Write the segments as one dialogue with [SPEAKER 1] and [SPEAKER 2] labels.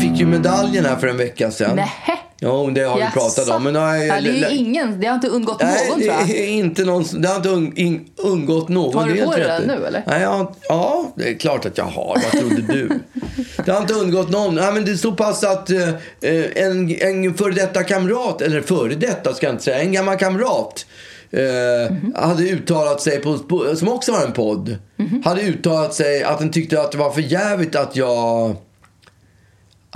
[SPEAKER 1] fick ju medaljen här för en vecka sedan.
[SPEAKER 2] Nähä.
[SPEAKER 1] Jo, det har vi pratat om. Men, nej,
[SPEAKER 2] ja, det är ju ingen, det har inte undgått
[SPEAKER 1] Nej,
[SPEAKER 2] någon
[SPEAKER 1] det,
[SPEAKER 2] tror jag.
[SPEAKER 1] är inte någon, som- det har inte un, in, undgått någon.
[SPEAKER 2] Har du
[SPEAKER 1] det är
[SPEAKER 2] på
[SPEAKER 1] helt
[SPEAKER 2] dig
[SPEAKER 1] rätt
[SPEAKER 2] den
[SPEAKER 1] i.
[SPEAKER 2] nu, eller?
[SPEAKER 1] Nej, jag, ja, det är klart att jag har. Vad trodde du? Det har inte undgått någon. Nej, men det är så pass att eh, eh, en, en före detta kamrat, eller före detta ska jag inte säga, en gammal kamrat eh, hade uttalat sig, på, på, som också har en podd,
[SPEAKER 2] Mhm.
[SPEAKER 1] hade uttalat sig att den tyckte att det var för jävligt att jag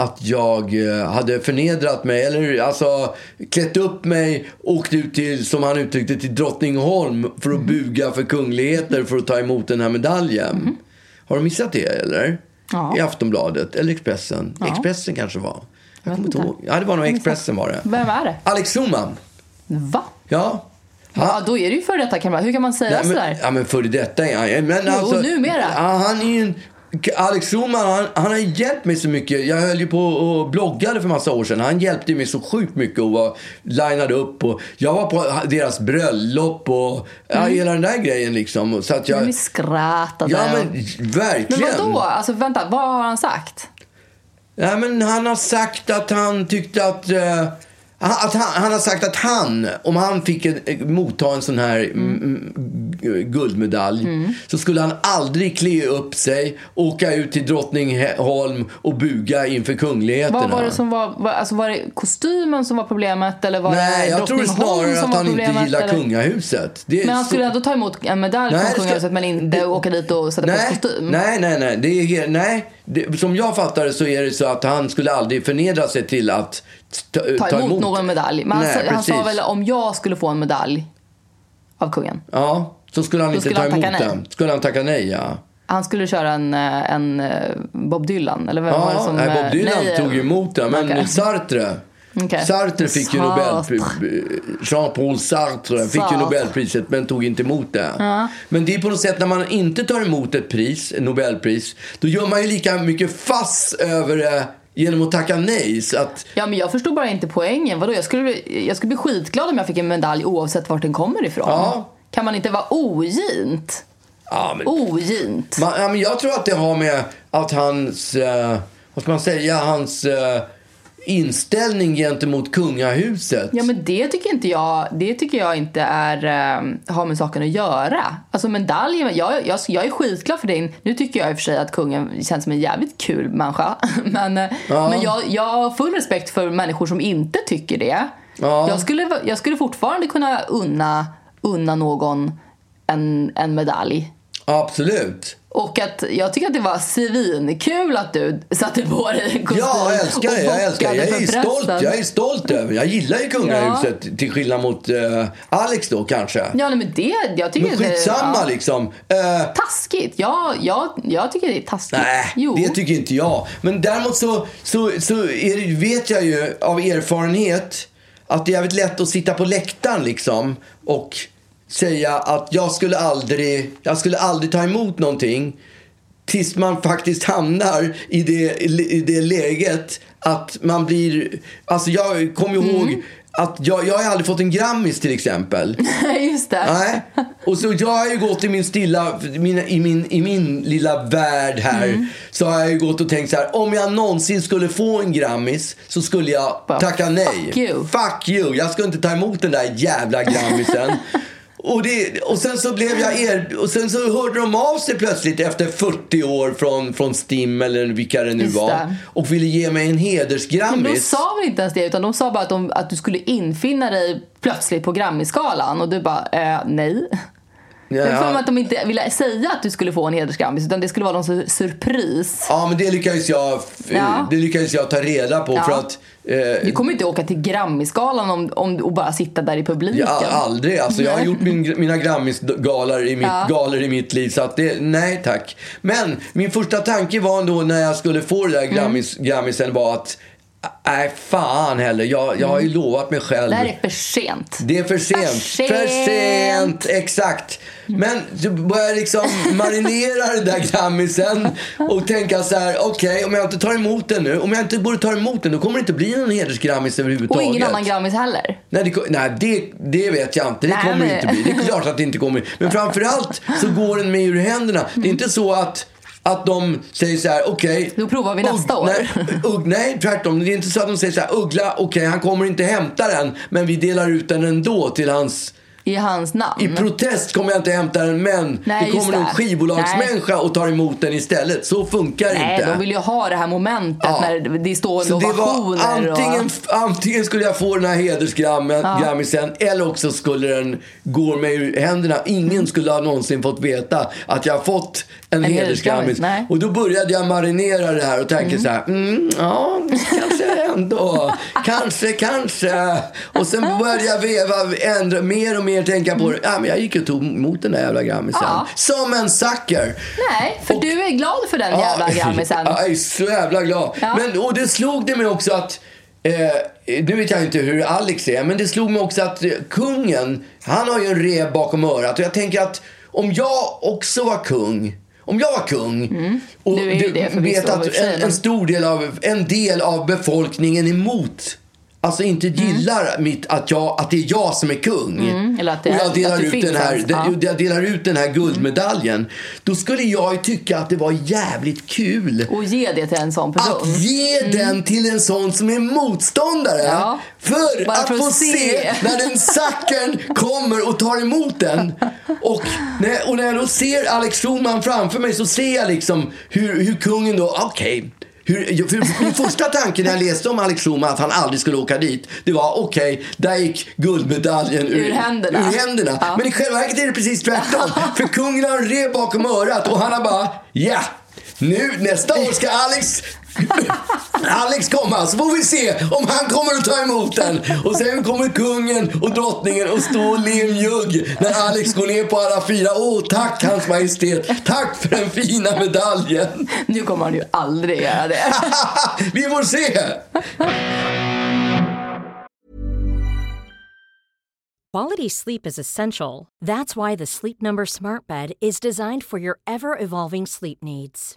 [SPEAKER 1] att jag eh, hade förnedrat mig, eller alltså klätt upp mig, åkt ut till, som han uttryckte till Drottningholm för
[SPEAKER 2] Mm.
[SPEAKER 1] att buga för kungligheter för att ta emot den här medaljen. Har du missat det eller?
[SPEAKER 2] Mm. Ja.
[SPEAKER 1] I Aftonbladet eller Expressen? Expressen kanske var. Jag kommer
[SPEAKER 2] vet
[SPEAKER 1] inte
[SPEAKER 2] inte.
[SPEAKER 1] ihåg. Ja, det var nog
[SPEAKER 2] Jag missade.
[SPEAKER 1] Expressen var det.
[SPEAKER 2] Vem är det?
[SPEAKER 1] Alex Schulman.
[SPEAKER 2] Va?
[SPEAKER 1] Ja.
[SPEAKER 2] Ja, då är det ju före detta kamrat. Hur kan man säga
[SPEAKER 1] Nej, men,
[SPEAKER 2] sådär?
[SPEAKER 1] ja, men före detta är han. Men alltså,
[SPEAKER 2] numera.
[SPEAKER 1] Ja, han är ju en... Alex Schulman, han, han har hjälpt mig så mycket. Jag höll ju på och bloggade för massa år sedan. Han hjälpte mig så sjukt mycket och var lineade upp. Och jag var på deras bröllop och ja,
[SPEAKER 2] Mm.
[SPEAKER 1] hela den där grejen liksom. Så att
[SPEAKER 2] Jag blir
[SPEAKER 1] jag...
[SPEAKER 2] skrattad.
[SPEAKER 1] Ja
[SPEAKER 2] där.
[SPEAKER 1] men verkligen.
[SPEAKER 2] men vadå? Alltså vänta, vad har han sagt?
[SPEAKER 1] Nej, men han har sagt att han tyckte att... eh, att han, han har sagt att han, om han fick en, eh, motta en sån här mm. mm, guldmedalj
[SPEAKER 2] Mm.
[SPEAKER 1] så skulle han aldrig klä upp sig, åka ut till Drottningholm och buga inför kungligheterna.
[SPEAKER 2] Vad var det som var, var, alltså var det kostymen som var problemet eller var
[SPEAKER 1] Nej,
[SPEAKER 2] det
[SPEAKER 1] jag tror
[SPEAKER 2] Drottningholm
[SPEAKER 1] snarare
[SPEAKER 2] som
[SPEAKER 1] att
[SPEAKER 2] var
[SPEAKER 1] han inte
[SPEAKER 2] problemet,
[SPEAKER 1] gillar
[SPEAKER 2] eller?
[SPEAKER 1] kungahuset. Det är
[SPEAKER 2] Men han
[SPEAKER 1] så-
[SPEAKER 2] skulle ändå ta emot en medalj
[SPEAKER 1] Nej, det
[SPEAKER 2] från
[SPEAKER 1] ska-
[SPEAKER 2] kungahuset men inte
[SPEAKER 1] det-
[SPEAKER 2] åka dit och sätta på
[SPEAKER 1] Nej,
[SPEAKER 2] sig kostym?
[SPEAKER 1] nej, nej, nej. Det är, he- nej. Det, som jag fattar det så är det så att han skulle aldrig förnedra sig till att ta,
[SPEAKER 2] ta emot, någon medalj. Men han,
[SPEAKER 1] Nej,
[SPEAKER 2] sa, han sa
[SPEAKER 1] precis.
[SPEAKER 2] väl om jag skulle få en medalj av kungen.
[SPEAKER 1] Ja, så skulle han
[SPEAKER 2] Då
[SPEAKER 1] inte
[SPEAKER 2] skulle
[SPEAKER 1] ta
[SPEAKER 2] han tacka
[SPEAKER 1] emot
[SPEAKER 2] nej.
[SPEAKER 1] den. Skulle han tacka nej, ja.
[SPEAKER 2] Han skulle köra en, eh, en eh, Bob Dylan eller vad var det
[SPEAKER 1] Ja,
[SPEAKER 2] som...
[SPEAKER 1] nej,
[SPEAKER 2] eh,
[SPEAKER 1] Bob Dylan
[SPEAKER 2] nej,
[SPEAKER 1] tog emot den, men
[SPEAKER 2] okej.
[SPEAKER 1] Sartre.
[SPEAKER 2] Okej.
[SPEAKER 1] Sartre fick ju
[SPEAKER 2] Sartre.
[SPEAKER 1] Nobelpriset. Jean-Paul Sartre fick
[SPEAKER 2] Sartre.
[SPEAKER 1] ju Nobelpriset men tog inte emot det. Men det är på något sätt när man inte tar emot ett pris, ett Nobelpris, då gör man ju lika mycket fass över det genom att tacka nej. Så att,
[SPEAKER 2] Ja men jag förstod bara inte poängen. Vadå? Jag skulle, bli- jag skulle bli skitglad om jag fick en medalj oavsett vart den kommer ifrån.
[SPEAKER 1] Ja.
[SPEAKER 2] Kan man inte vara ogint?
[SPEAKER 1] ja, men
[SPEAKER 2] Ogint?
[SPEAKER 1] Man, ja, men jag tror att det har med att hans, eh, vad ska man säga, hans eh, inställning gentemot kungahuset.
[SPEAKER 2] Ja men det tycker inte jag, det tycker jag inte är, eh, har med saken att göra. Alltså medaljen, jag, jag, jag är skitglad för din. Nu tycker jag i och för sig att kungen känns som en jävligt kul människa. Men, eh,
[SPEAKER 1] Ja.
[SPEAKER 2] men jag, jag har full respekt för människor som inte tycker det.
[SPEAKER 1] Ja.
[SPEAKER 2] Jag, skulle, va- jag skulle fortfarande kunna unna, unna någon en, en medalj.
[SPEAKER 1] Absolut.
[SPEAKER 2] Och att jag tycker att det var svinkul att du satte på dig en kostym
[SPEAKER 1] Ja, jag älskar det.
[SPEAKER 2] och
[SPEAKER 1] Jag älskar det.
[SPEAKER 2] bockade
[SPEAKER 1] Jag är
[SPEAKER 2] för
[SPEAKER 1] stolt.
[SPEAKER 2] prästen.
[SPEAKER 1] Jag är stolt över det. Jag gillar ju kungahuset till skillnad mot eh, Alex då kanske.
[SPEAKER 2] Ja, nej, men det, jag tycker
[SPEAKER 1] Men
[SPEAKER 2] att det-
[SPEAKER 1] skitsamma
[SPEAKER 2] ja.
[SPEAKER 1] liksom. Eh,
[SPEAKER 2] Taskigt? Ja, jag, jag tycker det är taskigt.
[SPEAKER 1] Nej,
[SPEAKER 2] jo.
[SPEAKER 1] det tycker inte jag. Men däremot så, så, så är det, vet jag ju av erfarenhet att det är jävligt lätt att sitta på läktaren liksom och säga att jag skulle aldrig, jag skulle aldrig ta emot någonting tills man faktiskt hamnar i det, i det läget att man blir... Alltså jag kommer ju ihåg att jag, jag har aldrig fått en Grammis till exempel.
[SPEAKER 2] Just det.
[SPEAKER 1] Nej. Och så jag har ju gått i min stilla, min, i, min, i min lilla värld här.
[SPEAKER 2] Mm.
[SPEAKER 1] Så har jag ju gått och tänkt så här. Om jag någonsin skulle få en Grammis så skulle jag
[SPEAKER 2] Bara,
[SPEAKER 1] tacka nej.
[SPEAKER 2] fuck you.
[SPEAKER 1] Fuck you. Jag ska inte ta emot den där jävla Grammisen. Och, det, och sen så blev jag er, och sen så hörde de av sig plötsligt efter 40 år från, från STIM eller vilka det nu
[SPEAKER 2] Just
[SPEAKER 1] var.
[SPEAKER 2] det.
[SPEAKER 1] Och ville ge mig en
[SPEAKER 2] Men de
[SPEAKER 1] hedersgrammis.
[SPEAKER 2] sa väl inte ens det, utan de sa bara att, de, att du skulle infinna dig plötsligt på Grammisgalan och du bara, eh, nej.
[SPEAKER 1] Ja.
[SPEAKER 2] Jag har för mig att de inte ville säga att du skulle få en hedersgrammis, utan det skulle vara någon sur- surpris.
[SPEAKER 1] Ja, men det lyckades jag,
[SPEAKER 2] Ja.
[SPEAKER 1] det lyckades jag ta reda på
[SPEAKER 2] Ja.
[SPEAKER 1] för att eh,
[SPEAKER 2] Du kommer inte åka till Grammisgalan om, om, och bara sitta där i publiken.
[SPEAKER 1] Ja, aldrig. Alltså, jag har gjort min, mina Grammis-galor i, mitt-
[SPEAKER 2] Ja.
[SPEAKER 1] galor i mitt liv. Så att det, nej tack. Men min första tanke var ändå när jag skulle få det där
[SPEAKER 2] Mm.
[SPEAKER 1] Grammis, Grammisen var att nej fan heller. Jag, jag har ju lovat mig själv.
[SPEAKER 2] Det här Mm. är för sent.
[SPEAKER 1] Det är för sent.
[SPEAKER 2] sent. Mm.
[SPEAKER 1] För sent, exakt. Men så börjar jag liksom marinera den där grammisen och tänka så här: okej om jag inte tar emot den nu, om jag inte borde ta emot den då kommer det inte bli någon hedersgrammis
[SPEAKER 2] Och
[SPEAKER 1] överhuvudtaget.
[SPEAKER 2] ingen annan Grammis heller.
[SPEAKER 1] Nej, det, ko- nej det, det vet jag inte. Det
[SPEAKER 2] Nej,
[SPEAKER 1] kommer
[SPEAKER 2] men-
[SPEAKER 1] det inte bli. Det är klart att det inte kommer. Men framförallt så går den mig ur händerna. Det är inte så att att de säger så här, okej.
[SPEAKER 2] Då provar vi
[SPEAKER 1] Ugg-
[SPEAKER 2] nästa år.
[SPEAKER 1] Nej, Ugg- nej, tvärtom. Det är inte så att de säger så här, Uggla, okej, han kommer inte hämta den, men vi delar ut den ändå till hans...
[SPEAKER 2] I hans namn.
[SPEAKER 1] I protest kommer jag inte hämta den, men
[SPEAKER 2] Mm. Nej,
[SPEAKER 1] det
[SPEAKER 2] just
[SPEAKER 1] kommer någon
[SPEAKER 2] det.
[SPEAKER 1] skivbolagsmänniska och tar emot den istället. Så funkar
[SPEAKER 2] Nej,
[SPEAKER 1] inte.
[SPEAKER 2] de vill ju ha det här momentet
[SPEAKER 1] Ja.
[SPEAKER 2] när det står
[SPEAKER 1] Så det var
[SPEAKER 2] ovationer.
[SPEAKER 1] antingen,
[SPEAKER 2] och...
[SPEAKER 1] antingen skulle jag få den här hedersgrammisen eller också skulle den gå mig ur händerna. Ingen skulle ha någonsin fått veta att jag har fått en,
[SPEAKER 2] En
[SPEAKER 1] hedersgrammis.
[SPEAKER 2] hedersgrammis, nej.
[SPEAKER 1] Och då började jag marinera det här och tänka så här, mm, ja, kanske ändå, kanske, kanske. Och sen började jag veva, ändra, mer och mer tänka på det. Ja, men jag gick och tog emot den där jävla grammisen.
[SPEAKER 2] Ja.
[SPEAKER 1] Som en sucker.
[SPEAKER 2] Nej, för du är glad för den jävla grammisen.
[SPEAKER 1] Ja, jag är så jävla glad.
[SPEAKER 2] Ja.
[SPEAKER 1] Men, och det slog det mig också att Eh, nu vet jag inte hur Alex är, men det slog mig också att eh, kungen, han har ju en rev bakom örat. Och jag tänker att om jag också var kung, om jag var kung och
[SPEAKER 2] Du Mm. är ju det förvisso,
[SPEAKER 1] vet
[SPEAKER 2] i och
[SPEAKER 1] att
[SPEAKER 2] för sig,
[SPEAKER 1] en,
[SPEAKER 2] men-
[SPEAKER 1] en stor del av, en del av befolkningen är emot Alltså inte gillar mitt, att, jag, att det är jag som är kung.
[SPEAKER 2] Mm, eller att det
[SPEAKER 1] och
[SPEAKER 2] är-
[SPEAKER 1] jag
[SPEAKER 2] att
[SPEAKER 1] delar,
[SPEAKER 2] det
[SPEAKER 1] ut
[SPEAKER 2] finns
[SPEAKER 1] den här,
[SPEAKER 2] ens, ja.
[SPEAKER 1] jag delar ut den här guldmedaljen. Då skulle jag ju tycka att det var jävligt kul
[SPEAKER 2] Och ge det till en sån person.
[SPEAKER 1] att ge den till en sån som är motståndare.
[SPEAKER 2] Mm. Ja.
[SPEAKER 1] För
[SPEAKER 2] Bara
[SPEAKER 1] att
[SPEAKER 2] för att
[SPEAKER 1] få se.
[SPEAKER 2] se.
[SPEAKER 1] när den sacken kommer och tar emot den. Och när, och när jag då ser Alex Schulman framför mig så ser jag liksom hur, hur kungen då, okej. Hur, för min första tanke när jag läste om Alex Schulman att han aldrig skulle åka dit, det var okej, där gick guldmedaljen ur,
[SPEAKER 2] Ur händerna.
[SPEAKER 1] ur händerna.
[SPEAKER 2] Ja.
[SPEAKER 1] Men i själva verket är det precis tvärtom. För kungen har en rev bakom örat och han har bara, ja, nu nästa år ska Alex Alex komma, så får vi se om han kommer att ta emot den. Och sen kommer kungen och drottningen och stå och le mjugg när Alex går ner på alla fyra. Åh, tack hans majestät. Tack för den fina medaljen.
[SPEAKER 2] Nu kommer han ju aldrig göra det.
[SPEAKER 1] vi får se.
[SPEAKER 3] Quality sleep is essential. That's why the Sleep Number Smart Bed is designed for your ever evolving sleep needs.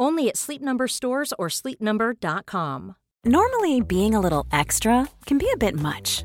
[SPEAKER 3] Only at Sleep Number stores or sleepnumber.com.
[SPEAKER 4] Normally, being a little extra can be a bit much,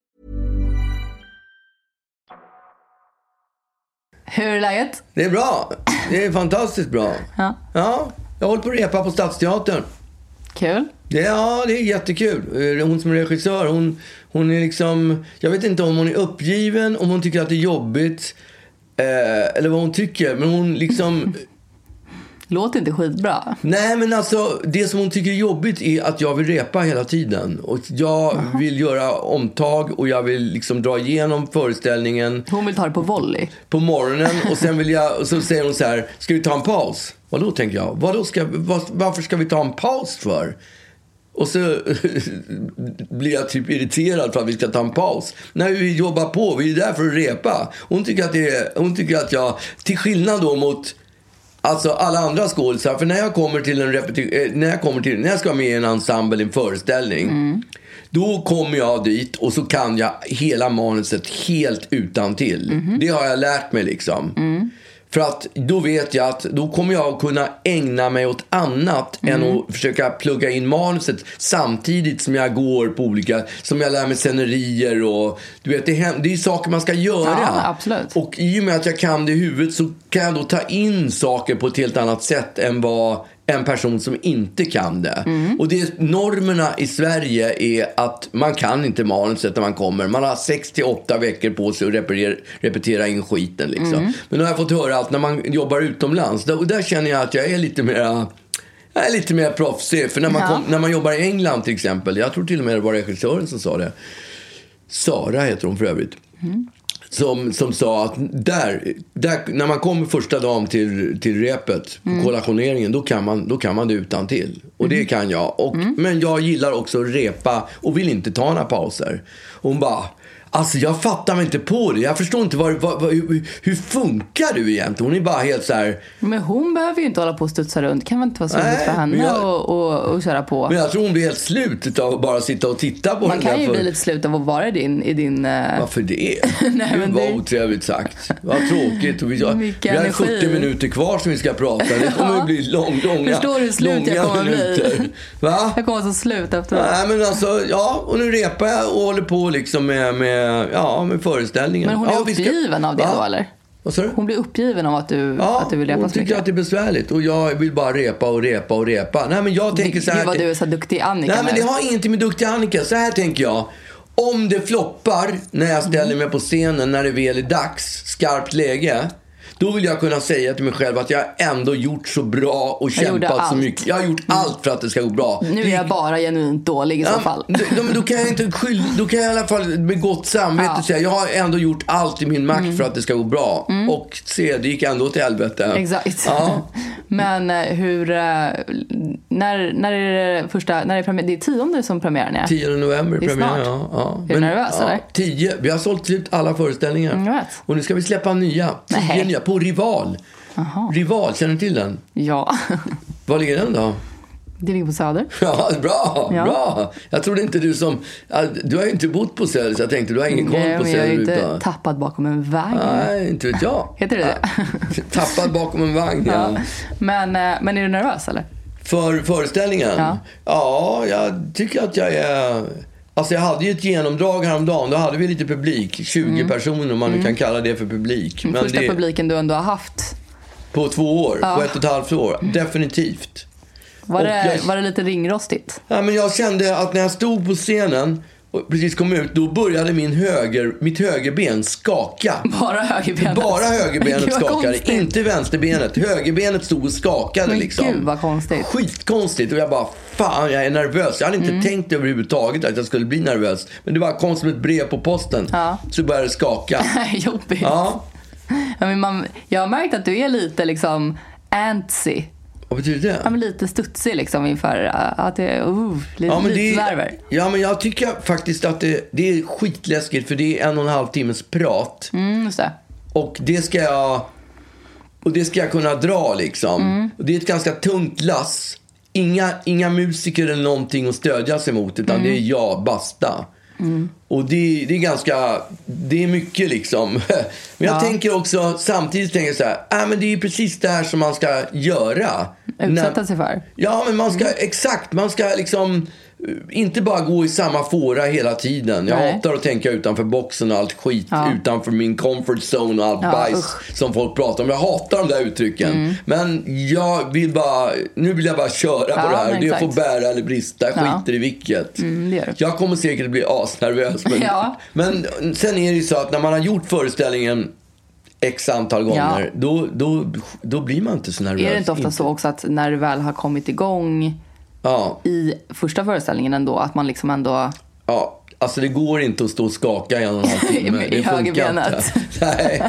[SPEAKER 2] Hur är läget?
[SPEAKER 1] Det är bra. Det är fantastiskt bra.
[SPEAKER 2] Ja.
[SPEAKER 1] Ja, jag håller på att repa på Stadsteatern.
[SPEAKER 2] Kul.
[SPEAKER 1] Det, ja, det är jättekul. Eh, Hon som är regissör, hon, hon är liksom... Jag vet inte om hon är uppgiven, om hon tycker att det är jobbigt. Eh, eller vad hon tycker. Men hon liksom...
[SPEAKER 2] Låter inte skitbra.
[SPEAKER 1] Nej, men alltså det som hon tycker är jobbigt är att jag vill repa hela tiden. Och jag vill göra omtag och jag vill liksom dra igenom föreställningen
[SPEAKER 2] Hon vill ta det på volley.
[SPEAKER 1] på morgonen och sen vill jag, och så säger hon så här, ska vi ta en paus? Vadå tänker jag, Vadå ska, var, varför ska vi ta en paus för? Och så blir jag typ irriterad för att vi ska ta en paus. Nej, vi jobbar på, vi är där för att repa. Hon tycker att, det är, hon tycker att jag, till skillnad då mot Alltså alla andra skådisar, för när jag kommer till en repetition, när jag kommer till, när jag ska vara med i en ensemble, en föreställning.
[SPEAKER 2] Mm.
[SPEAKER 1] Då kommer jag dit och så kan jag hela manuset helt utan till.
[SPEAKER 2] Mhm.
[SPEAKER 1] Det har jag lärt mig liksom.
[SPEAKER 2] Mm.
[SPEAKER 1] För att då vet jag att då kommer jag att kunna ägna mig åt annat
[SPEAKER 2] Mm.
[SPEAKER 1] än att försöka plugga in manuset samtidigt som jag går på olika, som jag lär mig scenerier och du vet det, är, det är saker man ska göra.
[SPEAKER 2] Ja, absolut.
[SPEAKER 1] Och i och med att jag kan det i huvudet så kan jag då ta in saker på ett helt annat sätt än vad en person som inte kan det. Och det, normerna i Sverige är att man kan inte manuset när man kommer. Man har 6 till 8 veckor på sig att repetera, repetera in skiten. Liksom. Men då har jag fått höra att när man jobbar utomlands, där, och där känner jag att jag är lite mer Jag är lite mer proffsig. För när man,
[SPEAKER 2] Ja.
[SPEAKER 1] kom, när man jobbar i England till exempel, jag tror till och med det var regissören som sa det. Sara heter hon för övrigt. Som, som sa att där, där, när man kommer första dagen till, till repet,
[SPEAKER 2] Mm.
[SPEAKER 1] kollationeringen, då kan, man, då kan man det utan till. Och det kan jag. Och,
[SPEAKER 2] Mm.
[SPEAKER 1] Men jag gillar också att repa och vill inte ta några pauser. Och hon bara, alltså jag fattar mig inte på det. Jag förstår inte vad, vad, vad, hur, hur funkar du egentligen? Hon är bara helt så här,
[SPEAKER 2] Men hon behöver ju inte hålla på och studsa runt. kan väl inte vara så roligt
[SPEAKER 1] Nej,
[SPEAKER 2] för henne
[SPEAKER 1] men jag-
[SPEAKER 2] och, och, och köra på.
[SPEAKER 1] Men jag tror hon blir helt slut av att bara sitta och titta på
[SPEAKER 2] Man
[SPEAKER 1] den där
[SPEAKER 2] kan ju
[SPEAKER 1] för-
[SPEAKER 2] bli lite slut av att vara i din... I din eh,
[SPEAKER 1] Varför det?
[SPEAKER 2] Nej,
[SPEAKER 1] Gud
[SPEAKER 2] men
[SPEAKER 1] vad
[SPEAKER 2] det-
[SPEAKER 1] otrevligt sagt. Vad tråkigt. Och vi, ja, vi
[SPEAKER 2] Mycket
[SPEAKER 1] har
[SPEAKER 2] energi.
[SPEAKER 1] 70 minuter kvar som vi ska prata. Det kommer att bli lång, långa,
[SPEAKER 2] Förstår du hur slut jag
[SPEAKER 1] långa
[SPEAKER 2] kommer bli?
[SPEAKER 1] minuter. Va?
[SPEAKER 2] jag kommer så slut efteråt.
[SPEAKER 1] Nej men alltså, ja, och nu repar jag och håller på liksom med, med, ja, med föreställningen.
[SPEAKER 2] Men hon är
[SPEAKER 1] ja, vi ska-
[SPEAKER 2] uppgiven av det
[SPEAKER 1] Va?
[SPEAKER 2] då eller?
[SPEAKER 1] Vad sa du?
[SPEAKER 2] Hon blir uppgiven av att du,
[SPEAKER 1] Ja,
[SPEAKER 2] att du vill repa
[SPEAKER 1] hon
[SPEAKER 2] så
[SPEAKER 1] tycker
[SPEAKER 2] mycket.
[SPEAKER 1] att det är besvärligt och jag vill bara repa och repa och repa. Nej men jag tänker
[SPEAKER 2] Gud
[SPEAKER 1] så här.
[SPEAKER 2] vad du är så duktig Annika
[SPEAKER 1] Nej, men
[SPEAKER 2] nu.
[SPEAKER 1] det har ingenting med duktiga Annika. Så här tänker jag. Om det floppar när jag
[SPEAKER 2] Mm.
[SPEAKER 1] ställer mig på scenen när det väl är dags, skarpt läge. Då vill jag kunna säga till mig själv att jag ändå gjort så bra och
[SPEAKER 2] gjorde
[SPEAKER 1] kämpat så
[SPEAKER 2] allt. Mm.
[SPEAKER 1] mycket. Jag har gjort allt för att det ska gå bra.
[SPEAKER 2] Nu är jag bara genuint dålig i så
[SPEAKER 1] Ja,
[SPEAKER 2] fall.
[SPEAKER 1] Då, då, men då kan jag inte skylla, då kan jag i alla fall med gott samvete
[SPEAKER 2] Ja. Mm.
[SPEAKER 1] säga jag har ändå gjort allt i min makt för att det ska gå bra. Och se, det gick ändå till helvete.
[SPEAKER 2] Exakt.
[SPEAKER 1] Ja.
[SPEAKER 2] Men eh, hur... eh, När, när är det första... När är premiär, det är tionde som premiären är?
[SPEAKER 1] 10 november
[SPEAKER 2] Det är
[SPEAKER 1] premiär.
[SPEAKER 2] snart.
[SPEAKER 1] Ja, ja.
[SPEAKER 2] Är du nervös, eller? Mm,
[SPEAKER 1] 10. Vi har sålt slut alla föreställningar.
[SPEAKER 2] Jag vet.
[SPEAKER 1] Och nu ska vi släppa nya. 10
[SPEAKER 2] Nej.
[SPEAKER 1] nya på Rival. Rival, känner du till den?
[SPEAKER 2] Ja.
[SPEAKER 1] Var ligger den då?
[SPEAKER 2] Det ligger på Söder.
[SPEAKER 1] Ja, bra,
[SPEAKER 2] Ja.
[SPEAKER 1] bra! Jag trodde inte du som... ja, Du har ju inte bott på Söder så jag tänkte du har ingen koll
[SPEAKER 2] Nej,
[SPEAKER 1] på
[SPEAKER 2] Eh, men jag är
[SPEAKER 1] Söder.
[SPEAKER 2] ju
[SPEAKER 1] utan-
[SPEAKER 2] inte tappad bakom en vagn.
[SPEAKER 1] Nej, inte vet jag.
[SPEAKER 2] Heter det det?
[SPEAKER 1] Ja. Tappad bakom en vagn, ja.
[SPEAKER 2] Ja. Men, eh, men är du nervös eller?
[SPEAKER 1] För föreställningen?
[SPEAKER 2] Ja.
[SPEAKER 1] Ja, jag tycker att jag är... Alltså jag hade ju ett genomdrag häromdagen. Då hade vi lite publik. 20 personer om man nu kan kalla det för publik. Men
[SPEAKER 2] Mm. Första
[SPEAKER 1] det,
[SPEAKER 2] publiken du ändå har haft.
[SPEAKER 1] På två år. På ett och ett halvt år.
[SPEAKER 2] Mm.
[SPEAKER 1] Definitivt.
[SPEAKER 2] Var
[SPEAKER 1] Och
[SPEAKER 2] det,
[SPEAKER 1] jag-
[SPEAKER 2] var det lite ringrostigt?
[SPEAKER 1] Ja, men jag kände att när jag stod på scenen och precis kom ut. Då började min höger, mitt högerben skaka.
[SPEAKER 2] Bara högerbenet?
[SPEAKER 1] Bara högerbenet
[SPEAKER 2] Gud, vad
[SPEAKER 1] skakade,
[SPEAKER 2] konstigt.
[SPEAKER 1] inte vänsterbenet. Högerbenet stod och skakade
[SPEAKER 2] Men
[SPEAKER 1] liksom.
[SPEAKER 2] gud, vad konstigt. Mm.
[SPEAKER 1] Skitkonstigt. Och jag bara, fan jag är nervös. Jag hade inte tänkt överhuvudtaget att jag skulle bli nervös. Men det bara kom som ett brev på posten.
[SPEAKER 2] Ja.
[SPEAKER 1] Så började det skaka.
[SPEAKER 2] Nej, Jobbigt.
[SPEAKER 1] ja,
[SPEAKER 2] Ja, men man, jag har märkt att du är lite liksom antsy.
[SPEAKER 1] vad betyder det?
[SPEAKER 2] Ja, men lite studsig liksom inför uh, att det är uh, lite,
[SPEAKER 1] Ja men,
[SPEAKER 2] lite
[SPEAKER 1] det,
[SPEAKER 2] nerver.
[SPEAKER 1] ja, men jag tycker faktiskt att det, det är skitläskigt för det är en och en halv timmes prat.
[SPEAKER 2] Mm, just det.
[SPEAKER 1] Och det ska jag Och det ska jag kunna dra liksom.
[SPEAKER 2] Mm.
[SPEAKER 1] Och det är ett ganska tungt lass. Inga, inga musiker eller någonting att stödja sig mot. Utan
[SPEAKER 2] Mm.
[SPEAKER 1] det är jag, basta. Och det, det är ganska, det är mycket liksom. Men jag
[SPEAKER 2] Ja.
[SPEAKER 1] tänker också, samtidigt tänker jag så här, äh, men det är ju precis det här som man ska göra.
[SPEAKER 2] Utsätta
[SPEAKER 1] När-
[SPEAKER 2] sig för.
[SPEAKER 1] Ja, men man ska,
[SPEAKER 2] Mm.
[SPEAKER 1] exakt, man ska liksom eh, inte bara gå i samma fåra hela tiden. Jag
[SPEAKER 2] Nej.
[SPEAKER 1] hatar att tänka utanför boxen och allt skit
[SPEAKER 2] Ja.
[SPEAKER 1] utanför min comfort zone och allt
[SPEAKER 2] Ja,
[SPEAKER 1] bajs
[SPEAKER 2] usch. Mm.
[SPEAKER 1] som folk pratar om. Jag hatar de där uttrycken. Men jag vill bara, nu vill jag bara köra på
[SPEAKER 2] Ja,
[SPEAKER 1] det här.
[SPEAKER 2] men
[SPEAKER 1] Det
[SPEAKER 2] exakt.
[SPEAKER 1] får bära eller brista, jag
[SPEAKER 2] Ja.
[SPEAKER 1] skiter i vilket.
[SPEAKER 2] Mm, det gör du.
[SPEAKER 1] Jag kommer säkert bli asnervös. Men,
[SPEAKER 2] Ja.
[SPEAKER 1] men sen är det ju så att när man har gjort föreställningen X antal gånger,
[SPEAKER 2] Ja.
[SPEAKER 1] då, då, då blir man inte så nervös.
[SPEAKER 2] Är det inte ofta så också att när du väl har kommit igång
[SPEAKER 1] Ja.
[SPEAKER 2] i första föreställningen ändå, att man liksom ändå...
[SPEAKER 1] Ja, alltså det går inte att stå och skaka i en och en halv timme.
[SPEAKER 2] I
[SPEAKER 1] Det funkar inte.
[SPEAKER 2] högerbenet.
[SPEAKER 1] Nej.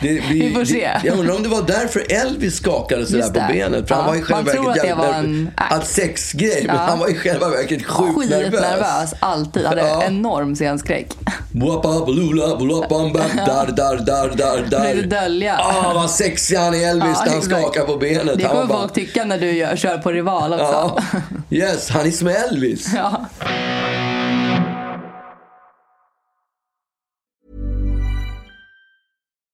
[SPEAKER 1] Det,
[SPEAKER 2] Vi får se.
[SPEAKER 1] Det, jag undrar om det var därför Elvis skakade sådär
[SPEAKER 2] Just
[SPEAKER 1] på
[SPEAKER 2] det.
[SPEAKER 1] benet. För han
[SPEAKER 2] Ja,
[SPEAKER 1] var i
[SPEAKER 2] man
[SPEAKER 1] själva
[SPEAKER 2] tror
[SPEAKER 1] verket
[SPEAKER 2] att det var
[SPEAKER 1] jävligt nervös.
[SPEAKER 2] en act.
[SPEAKER 1] Att sexgrej, men
[SPEAKER 2] Ja.
[SPEAKER 1] han var i själva verket sjukt nervös.
[SPEAKER 2] Skitnervös, alltid. Hade
[SPEAKER 1] Ja.
[SPEAKER 2] enorm scenskräck.
[SPEAKER 1] Wappa, blula, blulapam, bam, Dar, dar, dar, dar, dar.
[SPEAKER 2] Försökte dölja.
[SPEAKER 1] Ah, vad sexig han är Elvis
[SPEAKER 2] Ja,
[SPEAKER 1] när han
[SPEAKER 2] exakt.
[SPEAKER 1] skakar på benet.
[SPEAKER 2] Det
[SPEAKER 1] Han var
[SPEAKER 2] kommer folk tycka när du gör, kör på Rival också.
[SPEAKER 1] ja. Yes, han är som Elvis.
[SPEAKER 2] Ja.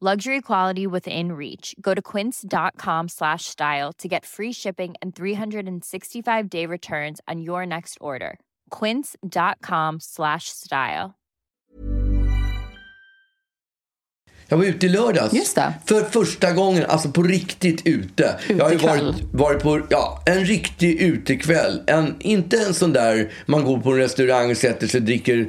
[SPEAKER 5] Luxury quality within reach. Go to quince.com slash style to get free shipping and 365 day returns on your next order. Quince.com slash style.
[SPEAKER 1] Jag var ute i lördags.
[SPEAKER 2] Just det.
[SPEAKER 1] För första gången, alltså på riktigt ute. jag har ju
[SPEAKER 2] Utekväll.
[SPEAKER 1] varit, varit på ja, en riktig utekväll. En, inte en sån där man går på en restaurang, sätter sig, dricker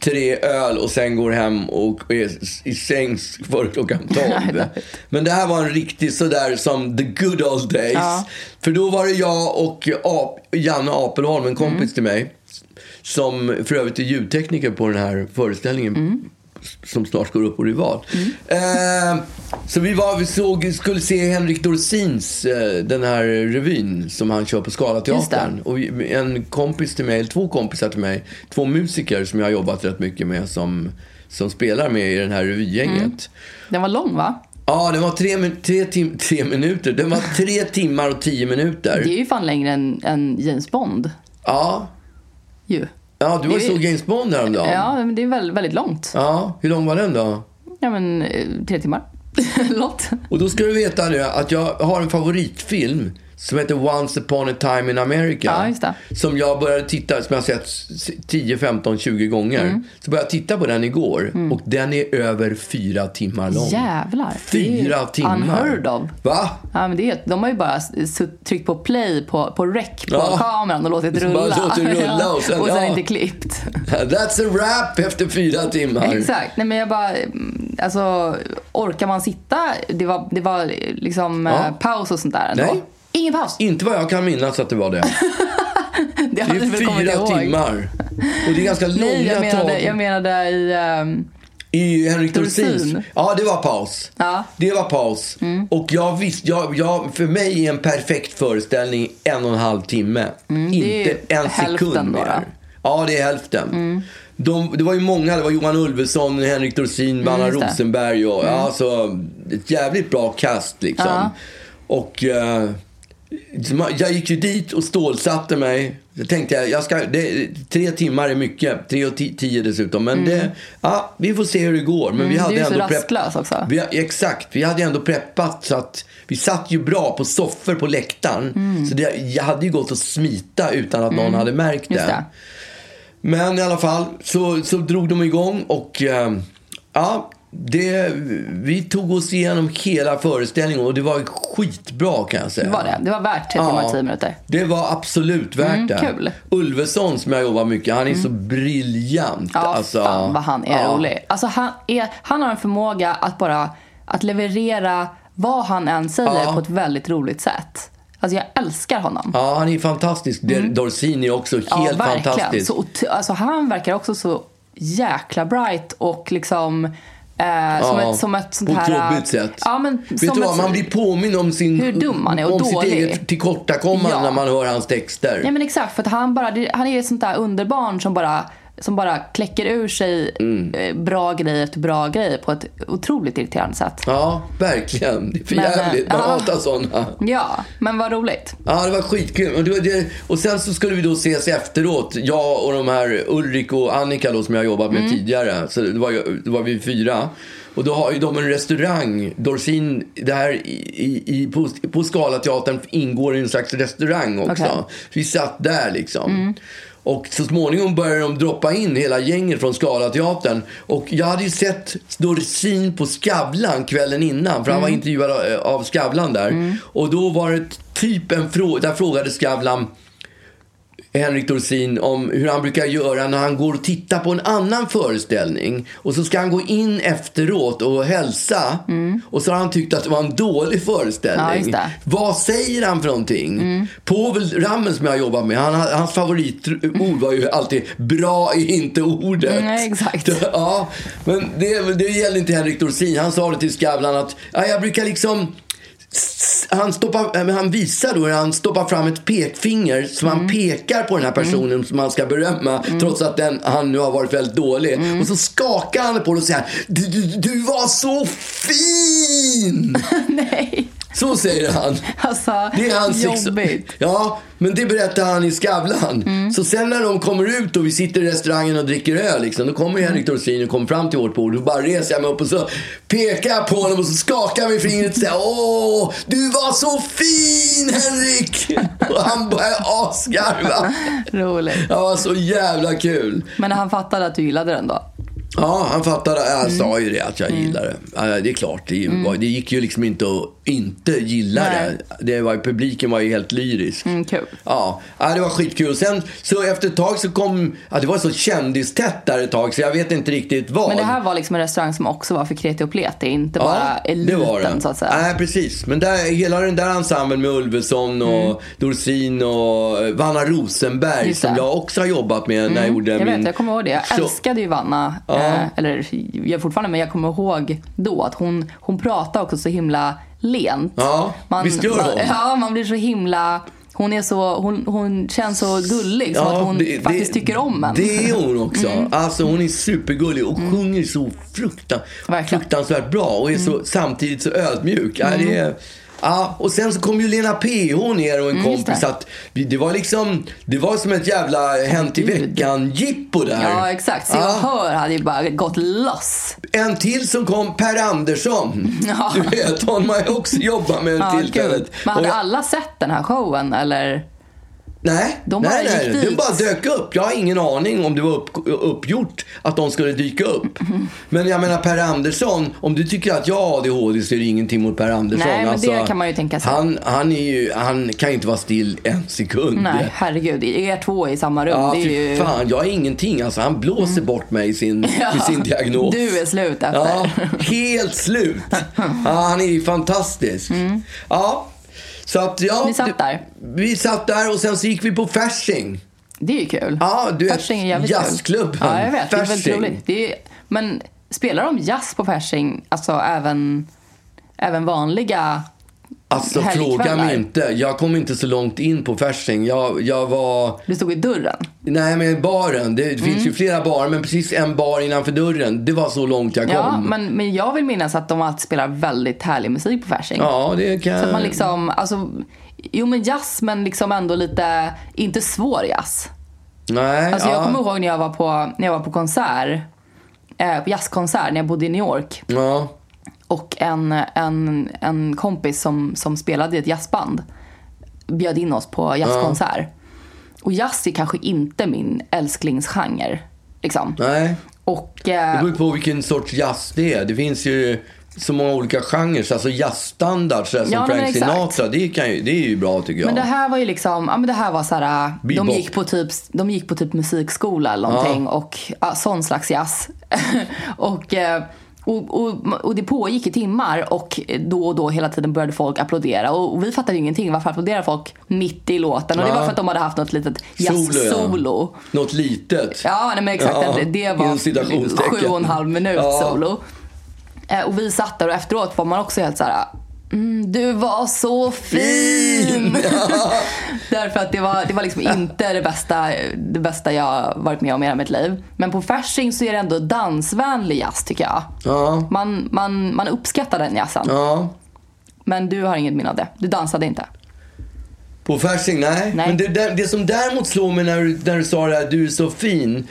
[SPEAKER 1] tre öl och sen går hem och är s- i säng före klockan tolv. Men det här var en riktig sådär som the good old days.
[SPEAKER 2] Ja.
[SPEAKER 1] För då var det jag och Ap- Janne Apelholm, en kompis
[SPEAKER 2] Mm.
[SPEAKER 1] till mig. Som för övrigt är ljudtekniker på den här föreställningen
[SPEAKER 2] Mm.
[SPEAKER 1] som snart går upp på Rival. Eh, så vi, var, vi såg, skulle se Henrik Dorsins, eh, den här revyn som han kör på Scalateatern.
[SPEAKER 2] Just
[SPEAKER 1] Och vi- en kompis till mig, eller två kompisar till mig, två musiker som jag har jobbat rätt mycket med som, som spelar med i den här revygänget.
[SPEAKER 2] Den var lång va?
[SPEAKER 1] Ja, det var tre, min- tre, tim, tre minuter. Det var tre timmar och tio minuter.
[SPEAKER 2] Det är ju fan längre än, än James Bond
[SPEAKER 1] Ja,
[SPEAKER 2] ju.
[SPEAKER 1] ja du var ju
[SPEAKER 2] Det-
[SPEAKER 1] såg James Bond häromdagen.
[SPEAKER 2] Ja, men det är väldigt, väldigt långt.
[SPEAKER 1] ja. Hur lång var den då?
[SPEAKER 2] Ja, men eh, tre timmar. Långt.
[SPEAKER 1] Och då ska du veta nu att jag har en favoritfilm som heter Once upon a time in America.
[SPEAKER 2] Ja, just det.
[SPEAKER 1] Som jag började titta, som jag har sett s- 10, 15, 20 gånger.
[SPEAKER 2] Mm.
[SPEAKER 1] Så började jag titta på den igår och den är över fyra timmar lång.
[SPEAKER 2] Jävlar. Det är ju
[SPEAKER 1] Fyra timmar.
[SPEAKER 2] Unheard of.
[SPEAKER 1] Va?
[SPEAKER 2] Ja, men det är, de har ju bara sutt, tryckt på play på, på rec på
[SPEAKER 1] Ja.
[SPEAKER 2] kameran och låtit
[SPEAKER 1] Så
[SPEAKER 2] rulla.
[SPEAKER 1] bara låtit rulla och sen-
[SPEAKER 2] och
[SPEAKER 1] ja.
[SPEAKER 2] inte klippt.
[SPEAKER 1] That's a wrap efter fyra timmar.
[SPEAKER 2] Exakt. Nej, men jag bara, mm, alltså, orkar man sitta? Det var, det var liksom
[SPEAKER 1] Ja.
[SPEAKER 2] eh, paus och sånt där ändå.
[SPEAKER 1] Nej.
[SPEAKER 2] Ingen paus.
[SPEAKER 1] Inte vad jag kan minnas att det var det.
[SPEAKER 2] Det
[SPEAKER 1] Det
[SPEAKER 2] hade
[SPEAKER 1] är
[SPEAKER 2] du väl kommit
[SPEAKER 1] fyra
[SPEAKER 2] ihåg.
[SPEAKER 1] timmar. Och det är ganska långa
[SPEAKER 2] Nej, jag menade,
[SPEAKER 1] tag.
[SPEAKER 2] jag menade i... ehm,
[SPEAKER 1] I Henrik
[SPEAKER 2] Dorsin.
[SPEAKER 1] Dorsins? Ja, det var paus.
[SPEAKER 2] Ja. Mm.
[SPEAKER 1] Det var paus. Och jag visste, jag, jag, för mig är en perfekt föreställning en och en halv timme.
[SPEAKER 2] Mm, det är
[SPEAKER 1] Inte en
[SPEAKER 2] hälften
[SPEAKER 1] sekund
[SPEAKER 2] då,
[SPEAKER 1] mer.
[SPEAKER 2] då.
[SPEAKER 1] Ja, det är hälften. De, det var ju många, det var Johan Ulveson, Henrik Dorsin, Vanna
[SPEAKER 2] Mm, just det. Mm.
[SPEAKER 1] Rosenberg och alltså, ett jävligt bra cast liksom. Och eh, jag gick ju dit och stålsatte mig. Då tänkte jag, jag ska, det, tre timmar är mycket. Tre och ti- tio dessutom. Men det, ja, vi får se hur det går. Men vi
[SPEAKER 2] Mm. du
[SPEAKER 1] hade
[SPEAKER 2] är ju så
[SPEAKER 1] ändå prepp-
[SPEAKER 2] rastlös också.
[SPEAKER 1] Vi, exakt, vi hade ju ändå preppat så att vi satt ju bra på soffor på läktaren.
[SPEAKER 2] Mm.
[SPEAKER 1] Så det, jag hade ju gått att smita utan att någon hade märkt
[SPEAKER 2] Just
[SPEAKER 1] det.
[SPEAKER 2] det.
[SPEAKER 1] Men i alla fall så, så drog de igång och eh, ja, det, vi tog oss igenom hela föreställningen och det var skitbra kan jag säga.
[SPEAKER 2] Det var det. Det var värt tre timmar och tio minuter.
[SPEAKER 1] Det var absolut värt
[SPEAKER 2] Mm,
[SPEAKER 1] det.
[SPEAKER 2] kul. Mm.
[SPEAKER 1] Ulveson som jag jobbar mycket, han är så briljant.
[SPEAKER 2] Ja,
[SPEAKER 1] alltså.
[SPEAKER 2] fan vad han är
[SPEAKER 1] Ja.
[SPEAKER 2] rolig. Alltså, han, är, han har en förmåga att bara att leverera vad han än säger på ett väldigt roligt sätt. Alltså jag älskar honom.
[SPEAKER 1] Ja, han är fantastisk. Mm. Dorsini också, helt
[SPEAKER 2] Ja, verkligen.
[SPEAKER 1] fantastisk.
[SPEAKER 2] Så, ot- alltså, han verkar också så jäkla bright och liksom eh, som,
[SPEAKER 1] Ja,
[SPEAKER 2] ett, som ett sånt
[SPEAKER 1] på ett
[SPEAKER 2] här...
[SPEAKER 1] jobbigt sätt.
[SPEAKER 2] Ja, men
[SPEAKER 1] Vet
[SPEAKER 2] som
[SPEAKER 1] du vad,
[SPEAKER 2] ett,
[SPEAKER 1] man blir påmind om sin...
[SPEAKER 2] Hur dum han är och
[SPEAKER 1] Om sitt
[SPEAKER 2] dålig.
[SPEAKER 1] eget tillkortakommande
[SPEAKER 2] Ja.
[SPEAKER 1] när man hör hans texter.
[SPEAKER 2] Ja men exakt, för att han, bara, det- han är ett sånt där underbarn som bara, som bara kläcker ur sig
[SPEAKER 1] Mm.
[SPEAKER 2] eh, bra grejer efter bra grejer på ett otroligt irriterande sätt.
[SPEAKER 1] Ja, verkligen. Det är för
[SPEAKER 2] Men, eh,
[SPEAKER 1] jävligt. Man
[SPEAKER 2] ja.
[SPEAKER 1] hatar sådana.
[SPEAKER 2] Ja, men vad roligt.
[SPEAKER 1] Ja, det var skitkul. Och, det, var- det, och sen så skulle vi då ses efteråt, jag och de här Ulrik och Annika då, som jag har jobbat med
[SPEAKER 2] Mm.
[SPEAKER 1] tidigare. Så det var, ju- det var vi fyra. Och då har ju de en restaurang, Dorsin, det här i, i, i, på, på Scalateatern ingår i en slags restaurang också.
[SPEAKER 2] Okej.
[SPEAKER 1] Vi satt där liksom. Och så småningom började de droppa in hela gänget från Scalateatern. Och jag hade ju sett Dorsin på Skavlan kvällen innan. För han var intervjuad av- av Skavlan där. Och då var det typ en fråga, där frågade Skavlan Henrik Dorsin om hur han brukar göra när han går och tittar på en annan föreställning. Och så ska han gå in efteråt och hälsa. Och så har han tyckt att det var en dålig
[SPEAKER 2] Ja,
[SPEAKER 1] föreställning.
[SPEAKER 2] just det.
[SPEAKER 1] Vad säger han för någonting? Povel Ramel som jag jobbar med, han, hans favoritord var ju alltid bra är inte ordet.
[SPEAKER 2] Nej, exakt.
[SPEAKER 1] Ja, men det, det gäller inte Henrik Dorsin. Han sa det till Skavlan att ja, jag brukar liksom s- han, stoppar, eh, men han visar då hur han stoppar fram ett pekfinger som
[SPEAKER 2] Mm.
[SPEAKER 1] han pekar på den här personen som han ska berömma trots att den, han nu har varit väldigt dålig.
[SPEAKER 2] Mm.
[SPEAKER 1] Och så skakar han på det och säger du, du, du var så fin!
[SPEAKER 2] Nej,
[SPEAKER 1] Så säger han.
[SPEAKER 2] alltså
[SPEAKER 1] Det är hans sex-
[SPEAKER 2] jobbigt.
[SPEAKER 1] Ja, men det berättar han i Skavlan. Så sen när de kommer ut och vi sitter i restaurangen och dricker öl, liksom, då kommer Henrik Dorsin och kommer fram till vårt bord. Då bara reser jag mig upp och så pekar jag på honom och så skakar jag med fingret och säger Åh, du var så fin Henrik! Och han börjar asgarva.
[SPEAKER 2] Roligt.
[SPEAKER 1] Ja, så jävla kul.
[SPEAKER 2] Men han fattade att du gillade den då?
[SPEAKER 1] Ja, han fattade. Jag
[SPEAKER 2] Mm.
[SPEAKER 1] sa ju det att jag gillar det. Ja, det är klart. Det, var, det gick ju liksom inte att inte gilla
[SPEAKER 2] Nej.
[SPEAKER 1] det. det var, publiken var ju helt lyrisk.
[SPEAKER 2] Mm, kul.
[SPEAKER 1] Ja, ja, det var skitkul. Och Sen så efter ett tag så kom, ja, det var så kändistätt där ett tag så jag vet inte riktigt vad.
[SPEAKER 2] Men det här var liksom en restaurang som också var för kreti och pleti, inte bara eliten så att säga.
[SPEAKER 1] Nej, precis. Men där, hela den där ensemblen med Ulveson och Dorsin och eh, Vanna Rosenberg
[SPEAKER 2] Mm. Just
[SPEAKER 1] som
[SPEAKER 2] det. Mm,
[SPEAKER 1] jag också har jobbat med när jag gjorde
[SPEAKER 2] Jag
[SPEAKER 1] min...
[SPEAKER 2] vet, jag kommer ihåg det. Jag
[SPEAKER 1] show.
[SPEAKER 2] älskade ju Vanna. Eh, eller jag gör fortfarande, men jag kommer ihåg då att hon, hon pratade också så himla lent.
[SPEAKER 1] Ja, visst gör hon?
[SPEAKER 2] man, Ja, man blir så himla... Hon, är så, hon, hon känns så gullig, som att hon faktiskt tycker om en. Mm.
[SPEAKER 1] Det är hon också. Alltså hon är supergullig och sjunger så fruktan,
[SPEAKER 2] Verkligen. Mm.
[SPEAKER 1] fruktansvärt bra och är så, samtidigt så ödmjuk. Ja, det är, ja, och sen så kom ju Lena PH ner och en kompis.
[SPEAKER 2] Mm, just det.
[SPEAKER 1] Att vi- det var liksom, det var som ett jävla Hänt i
[SPEAKER 2] Gud.
[SPEAKER 1] veckan-jippo där.
[SPEAKER 2] Ja, exakt. Så jag
[SPEAKER 1] Ja.
[SPEAKER 2] hör hade ju bara gått loss.
[SPEAKER 1] En till som kom, Per Andersson.
[SPEAKER 2] Ja.
[SPEAKER 1] Du vet, hon har jag också jobbat med
[SPEAKER 2] Ja,
[SPEAKER 1] tillfället.
[SPEAKER 2] gud. Men hade
[SPEAKER 1] Och jag-
[SPEAKER 2] alla sett den här showen? Eller?
[SPEAKER 1] Nej,
[SPEAKER 2] De
[SPEAKER 1] nej,
[SPEAKER 2] bara gick
[SPEAKER 1] nej.
[SPEAKER 2] dit.
[SPEAKER 1] den bara dök upp. Jag har ingen aning om det var upp, uppgjort att de skulle dyka upp. Men jag menar Per Andersson, om du tycker att jag har ADHD så är det ingenting mot Per Andersson. Alltså,
[SPEAKER 2] Nej, men det kan man ju tänka sig.
[SPEAKER 1] Han, han, är ju, han kan ju inte vara still en sekund.
[SPEAKER 2] Nej, herregud. Er två i samma rum.
[SPEAKER 1] Ja,
[SPEAKER 2] det är
[SPEAKER 1] fy
[SPEAKER 2] ju... Mm.
[SPEAKER 1] fan. Jag är ingenting. Alltså, han blåser bort mig i sin, med sin diagnos.
[SPEAKER 2] Du är slut efter.
[SPEAKER 1] Ja, helt slut. Ja, han är ju fantastisk. Ja, så att, ja,
[SPEAKER 2] Mm. Ni satt där?
[SPEAKER 1] Vi satt där och sen så gick vi på Fasching.
[SPEAKER 2] Det är ju kul.
[SPEAKER 1] Ja, du vet,
[SPEAKER 2] Fasching är jävligt kul.
[SPEAKER 1] jazzklubben.
[SPEAKER 2] Ja, jag vet. Det är väldigt
[SPEAKER 1] Fasching.
[SPEAKER 2] roligt. Det är, men spelar de jazz på Fasching, alltså även, även vanliga
[SPEAKER 1] Alltså
[SPEAKER 2] Helgkvällar.
[SPEAKER 1] fråga mig inte. Jag kom inte så långt in på Fasching. Jag, jag var...
[SPEAKER 2] Du stod i dörren.
[SPEAKER 1] Nej men baren. Det finns
[SPEAKER 2] Mm.
[SPEAKER 1] ju flera barer men precis en bar innanför dörren. Det var så långt jag kom.
[SPEAKER 2] Ja, men, men jag vill minnas att de alltid spelar väldigt härlig musik på Fasching.
[SPEAKER 1] Ja, det kan...
[SPEAKER 2] Så att man liksom, alltså, jo men jazz men liksom ändå lite, inte svår jazz.
[SPEAKER 1] Nej,
[SPEAKER 2] Alltså
[SPEAKER 1] ja.
[SPEAKER 2] jag kommer ihåg när jag var på, när jag var på konsert, eh, på jazzkonsert när jag bodde i New York.
[SPEAKER 1] Ja.
[SPEAKER 2] Och en, en, en kompis som, som spelade i ett jazzband bjöd in oss på jazzkonsert. Och jazz är kanske inte min älsklingsgenre. Liksom.
[SPEAKER 1] Nej.
[SPEAKER 2] Och,
[SPEAKER 1] Det
[SPEAKER 2] eh,
[SPEAKER 1] beror ju på vilken sorts jazz det är. Det finns ju så många olika genrer. Alltså jazzstandard sådär, som
[SPEAKER 2] Ja, men
[SPEAKER 1] Frank
[SPEAKER 2] exakt.
[SPEAKER 1] Sinatra. Det, kan ju, det är ju bra tycker jag.
[SPEAKER 2] men det här var ju liksom, ja men det här var såhär, de
[SPEAKER 1] Bebop.
[SPEAKER 2] gick, på typ, de gick på typ musikskola eller någonting och ja, sån slags jazz. och, eh, och, och, och det pågick i timmar och då och då hela tiden började folk applådera och, och vi fattade ju ingenting. Varför applåderar folk mitt i låten? Och det
[SPEAKER 1] Ja.
[SPEAKER 2] var för att de hade haft något litet
[SPEAKER 1] Solo, ja.
[SPEAKER 2] jazz-solo.
[SPEAKER 1] Något litet.
[SPEAKER 2] Ja, nej, men exakt.
[SPEAKER 1] Ja,
[SPEAKER 2] det, det
[SPEAKER 1] inom
[SPEAKER 2] var
[SPEAKER 1] citationstecken.
[SPEAKER 2] sju och en halv minut
[SPEAKER 1] Ja.
[SPEAKER 2] solo. Eh, och vi satt där och efteråt var man också helt så här. Mm, du var så fin! Därför att det var, det var liksom inte det bästa, det bästa jag varit med om i hela mitt liv. Men på Fasching så är det ändå dansvänlig jazz tycker jag.
[SPEAKER 1] Ja.
[SPEAKER 2] Man, man, man uppskattar den jazzen.
[SPEAKER 1] ja.
[SPEAKER 2] Men du har inget minne av det. Du dansade inte.
[SPEAKER 1] På Fasching? Nej.
[SPEAKER 2] Nej.
[SPEAKER 1] Men det, det, det som däremot slog mig när du, när du sa det här, du är så fin.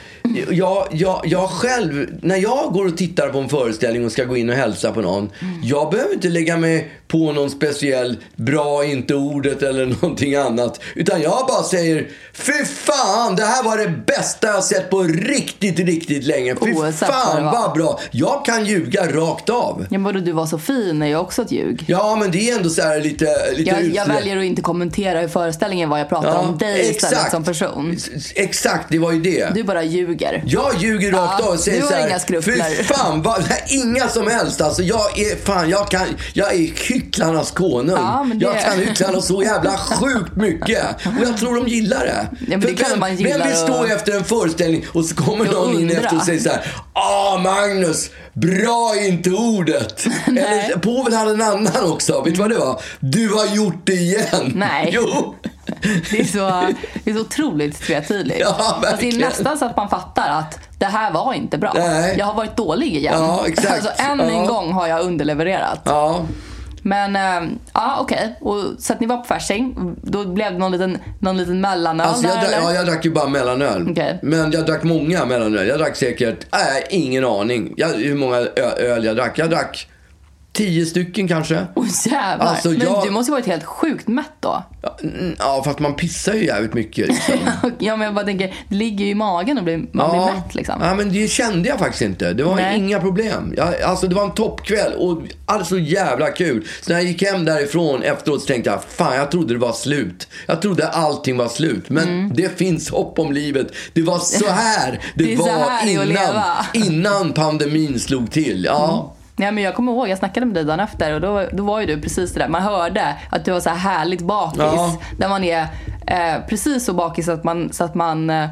[SPEAKER 1] Jag, jag, jag själv, när jag går och tittar på en föreställning och ska gå in och hälsa på någon.
[SPEAKER 2] Mm.
[SPEAKER 1] Jag behöver inte lägga mig på någon speciell bra inte ordet eller någonting annat. Utan jag bara säger, fy fan det här var det bästa jag sett på riktigt, riktigt länge. Fy
[SPEAKER 2] Oavsett vad
[SPEAKER 1] fan
[SPEAKER 2] det var."
[SPEAKER 1] vad bra. Jag kan ljuga rakt av.
[SPEAKER 2] Ja, men vadå, du var så fin är ju också ett ljug.
[SPEAKER 1] Ja men det är ändå så här lite, lite
[SPEAKER 2] Jag, jag
[SPEAKER 1] utsläppt.
[SPEAKER 2] väljer att inte kommentera hur föreställningen var. Jag pratar om dig istället som person.
[SPEAKER 1] S- Exakt, det var ju det.
[SPEAKER 2] Du bara ljuger.
[SPEAKER 1] Jag ljuger rakt
[SPEAKER 2] Ja,
[SPEAKER 1] av och säger
[SPEAKER 2] du har
[SPEAKER 1] så här,
[SPEAKER 2] inga skrupler.
[SPEAKER 1] Fy fan, vad, nej, inga som helst. Alltså, jag är fan, jag kan, jag är hycklarnas konung.
[SPEAKER 2] Ja, men det-
[SPEAKER 1] Jag kan hycklarna så jävla sjukt mycket. Och jag tror de gillar det.
[SPEAKER 2] men
[SPEAKER 1] För
[SPEAKER 2] det är klart
[SPEAKER 1] vem,
[SPEAKER 2] man gillar
[SPEAKER 1] vem vill stå
[SPEAKER 2] att-
[SPEAKER 1] efter en föreställning och så kommer
[SPEAKER 2] Jag
[SPEAKER 1] någon in
[SPEAKER 2] undrar.
[SPEAKER 1] efter och säger så här. Ja, Ah, Magnus! Bra är inte ordet! Eller, Povel hade en annan också. Vet du vad det var? Du har gjort det igen!
[SPEAKER 2] Nej.
[SPEAKER 1] Jo!
[SPEAKER 2] Det är så, det är så otroligt tvetydigt.
[SPEAKER 1] Ja,
[SPEAKER 2] Fast det är
[SPEAKER 1] verkligen.
[SPEAKER 2] nästan så att man fattar att det här var inte bra.
[SPEAKER 1] Nej.
[SPEAKER 2] Jag har varit dålig igen.
[SPEAKER 1] Ja, exakt.
[SPEAKER 2] Alltså, än
[SPEAKER 1] Ja.
[SPEAKER 2] en gång har jag underlevererat.
[SPEAKER 1] Ja,
[SPEAKER 2] Men ehm, ja, okej. Och- Så att ni var på Fasching. Då blev det någon liten, någon liten mellanöl
[SPEAKER 1] alltså jag,
[SPEAKER 2] där,
[SPEAKER 1] drack,
[SPEAKER 2] eller?
[SPEAKER 1] ja, jag drack ju bara mellanöl.
[SPEAKER 2] Okej.
[SPEAKER 1] Men jag drack många mellanöl. Jag drack säkert, nej, ingen aning jag, hur många ö- öl jag drack. Jag drack tio stycken kanske.
[SPEAKER 2] Åh, jävlar.
[SPEAKER 1] Alltså,
[SPEAKER 2] Men
[SPEAKER 1] jag-
[SPEAKER 2] du måste ju varit helt sjukt mätt då.
[SPEAKER 1] Ja, mm, Ja, fast man pissar ju jävligt mycket. Liksom.
[SPEAKER 2] Ja, men jag bara tänker, det ligger ju i magen och blir, man blir
[SPEAKER 1] ja.
[SPEAKER 2] mätt liksom.
[SPEAKER 1] ja, men det kände jag faktiskt inte. Det var
[SPEAKER 2] Nej.
[SPEAKER 1] inga problem. Jag, alltså, det var en toppkväll och allt så jävla kul. Så när jag gick hem därifrån efteråt så tänkte jag, fan jag trodde det var slut. Jag trodde allting var slut. Men det finns hopp om livet. Det var så här det,
[SPEAKER 2] Mm. Det är så
[SPEAKER 1] var
[SPEAKER 2] här det är att
[SPEAKER 1] innan,
[SPEAKER 2] leva.
[SPEAKER 1] innan pandemin slog till. Ja.
[SPEAKER 2] Nej, men jag kommer ihåg, jag snackade med dig dagen efter och då, då var ju du precis det där. Man hörde att du var så här härligt bakis.
[SPEAKER 1] Ja.
[SPEAKER 2] Där man är eh, precis så bakis att man, så att man eh,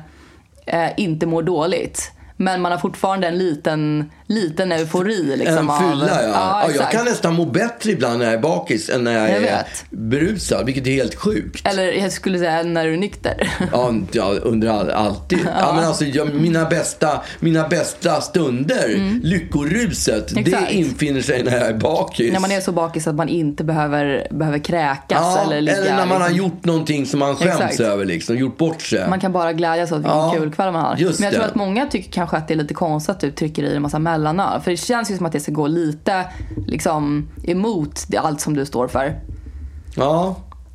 [SPEAKER 2] eh, inte mår dåligt. Men man har fortfarande en liten, liten eufori. Liksom,
[SPEAKER 1] En fylla ja.
[SPEAKER 2] av,
[SPEAKER 1] ja, jag
[SPEAKER 2] exakt.
[SPEAKER 1] kan nästan må bättre ibland när jag är bakis än när jag,
[SPEAKER 2] Jag
[SPEAKER 1] är
[SPEAKER 2] vet.
[SPEAKER 1] berusad. Vilket är helt sjukt.
[SPEAKER 2] Eller jag skulle säga när du är nykter.
[SPEAKER 1] Ja, ja under all, alltid. Ja. men alltså, jag, mina, bästa, mina bästa stunder, lyckoruset,
[SPEAKER 2] Mm. Exakt.
[SPEAKER 1] det infinner sig när jag är bakis.
[SPEAKER 2] när man är så bakis att man inte behöver, behöver kräkas
[SPEAKER 1] ja,
[SPEAKER 2] eller
[SPEAKER 1] eller,
[SPEAKER 2] ligga.
[SPEAKER 1] när man har
[SPEAKER 2] liksom.
[SPEAKER 1] gjort någonting som man skäms
[SPEAKER 2] Exakt.
[SPEAKER 1] över, liksom, gjort bort sig.
[SPEAKER 2] Man kan bara glädjas åt vilken
[SPEAKER 1] Ja,
[SPEAKER 2] kul kväll man har. Men jag
[SPEAKER 1] just
[SPEAKER 2] tror
[SPEAKER 1] det.
[SPEAKER 2] att många tycker kanske att det är lite konstigt att du trycker i en massa mellanöl. För det känns ju som att det ska gå lite liksom, emot det- allt som du står för.
[SPEAKER 1] Ja.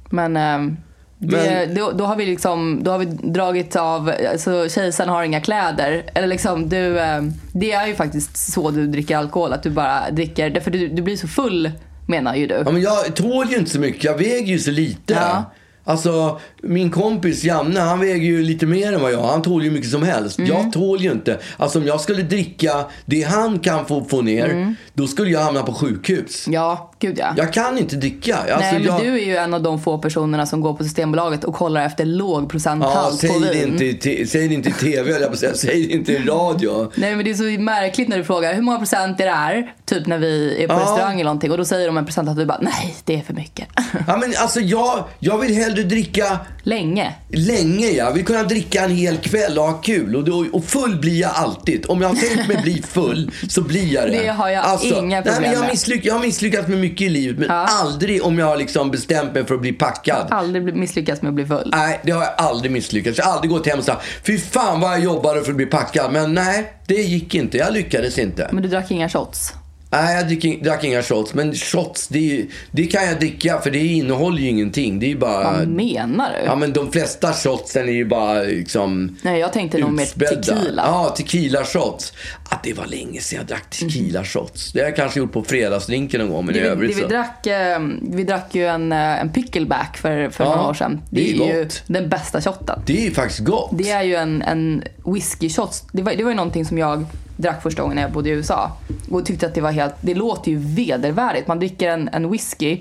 [SPEAKER 2] Men, eh, det, då, då, har vi liksom, då har vi dragit av, alltså, kejsaren har inga kläder. Eller liksom, du, eh, det är ju faktiskt så du dricker alkohol, att du bara dricker. Därför du, du blir så full menar ju du.
[SPEAKER 1] ja, men jag tål ju inte så mycket, jag väger ju så lite.
[SPEAKER 2] Ja.
[SPEAKER 1] Alltså, min kompis Janne, han väger ju lite mer än vad jag Han tål ju hur mycket som helst.
[SPEAKER 2] Mm.
[SPEAKER 1] Jag tål ju inte. Alltså om jag skulle dricka det han kan få, få ner,
[SPEAKER 2] Mm.
[SPEAKER 1] då skulle jag hamna på sjukhus.
[SPEAKER 2] Ja, gud ja.
[SPEAKER 1] Jag kan inte dricka. Alltså,
[SPEAKER 2] Mm. Nej, men
[SPEAKER 1] jag...
[SPEAKER 2] du är ju en av de få personerna som går på Systembolaget och kollar efter låg
[SPEAKER 1] Ja,
[SPEAKER 2] procenthalt på
[SPEAKER 1] säg det,
[SPEAKER 2] vin.
[SPEAKER 1] inte, i te- säg det inte i tv, höll jag på att säga. Säg det inte i radio.
[SPEAKER 2] Nej men det är så märkligt när du frågar hur många procent är det här? Typ när vi är på
[SPEAKER 1] Ja.
[SPEAKER 2] restaurang eller någonting och då säger de en procent att du bara nej det är för mycket.
[SPEAKER 1] Ja, men alltså, jag, jag vill hellre dricka
[SPEAKER 2] Länge.
[SPEAKER 1] länge. Jag vill kunna dricka en hel kväll och ha kul. Och, då- och full blir jag alltid. Om jag har tänkt mig bli full så blir jag det. Alltså,
[SPEAKER 2] Det har jag inga problem
[SPEAKER 1] nej, men jag,
[SPEAKER 2] med.
[SPEAKER 1] misslyck, jag har misslyckats med mycket i livet men
[SPEAKER 2] Ja.
[SPEAKER 1] aldrig om jag har liksom bestämt mig för att bli packad.
[SPEAKER 2] Aldrig bli- misslyckas med att bli full.
[SPEAKER 1] Nej, det har jag aldrig misslyckats. Jag har aldrig gått hem och sagt fy fan vad jag jobbade för att bli packad. Men nej, det gick inte. Jag lyckades inte.
[SPEAKER 2] Men du drack inga shots.
[SPEAKER 1] Nej, jag drick, drack inga shots. Men shots, det, är ju- det kan jag dricka för det innehåller ju ingenting. Det är ju bara...
[SPEAKER 2] Vad menar du?
[SPEAKER 1] Ja, men de flesta shotsen är ju bara liksom...
[SPEAKER 2] Nej jag tänkte nog mer
[SPEAKER 1] utspädda.
[SPEAKER 2] tequila.
[SPEAKER 1] Ja, tequila shots. Ah, det var länge sedan jag drack tequila shots. Det har jag kanske gjort på fredagsdrinken någon gång, men i
[SPEAKER 2] Mm. Det vi,
[SPEAKER 1] övrigt
[SPEAKER 2] det vi,
[SPEAKER 1] så...
[SPEAKER 2] drack, eh, vi drack ju en, eh, en pickleback för, för
[SPEAKER 1] Ja,
[SPEAKER 2] några år sedan. Det,
[SPEAKER 1] det är
[SPEAKER 2] är ju
[SPEAKER 1] gott.
[SPEAKER 2] den bästa shotten.
[SPEAKER 1] Det är faktiskt gott.
[SPEAKER 2] Det är ju en, en whisky shot. Det var, det var ju någonting som jag drack första gången när jag bodde i USA. Och tyckte att det var helt, det låter ju vedervärdigt. Man dricker en, en whisky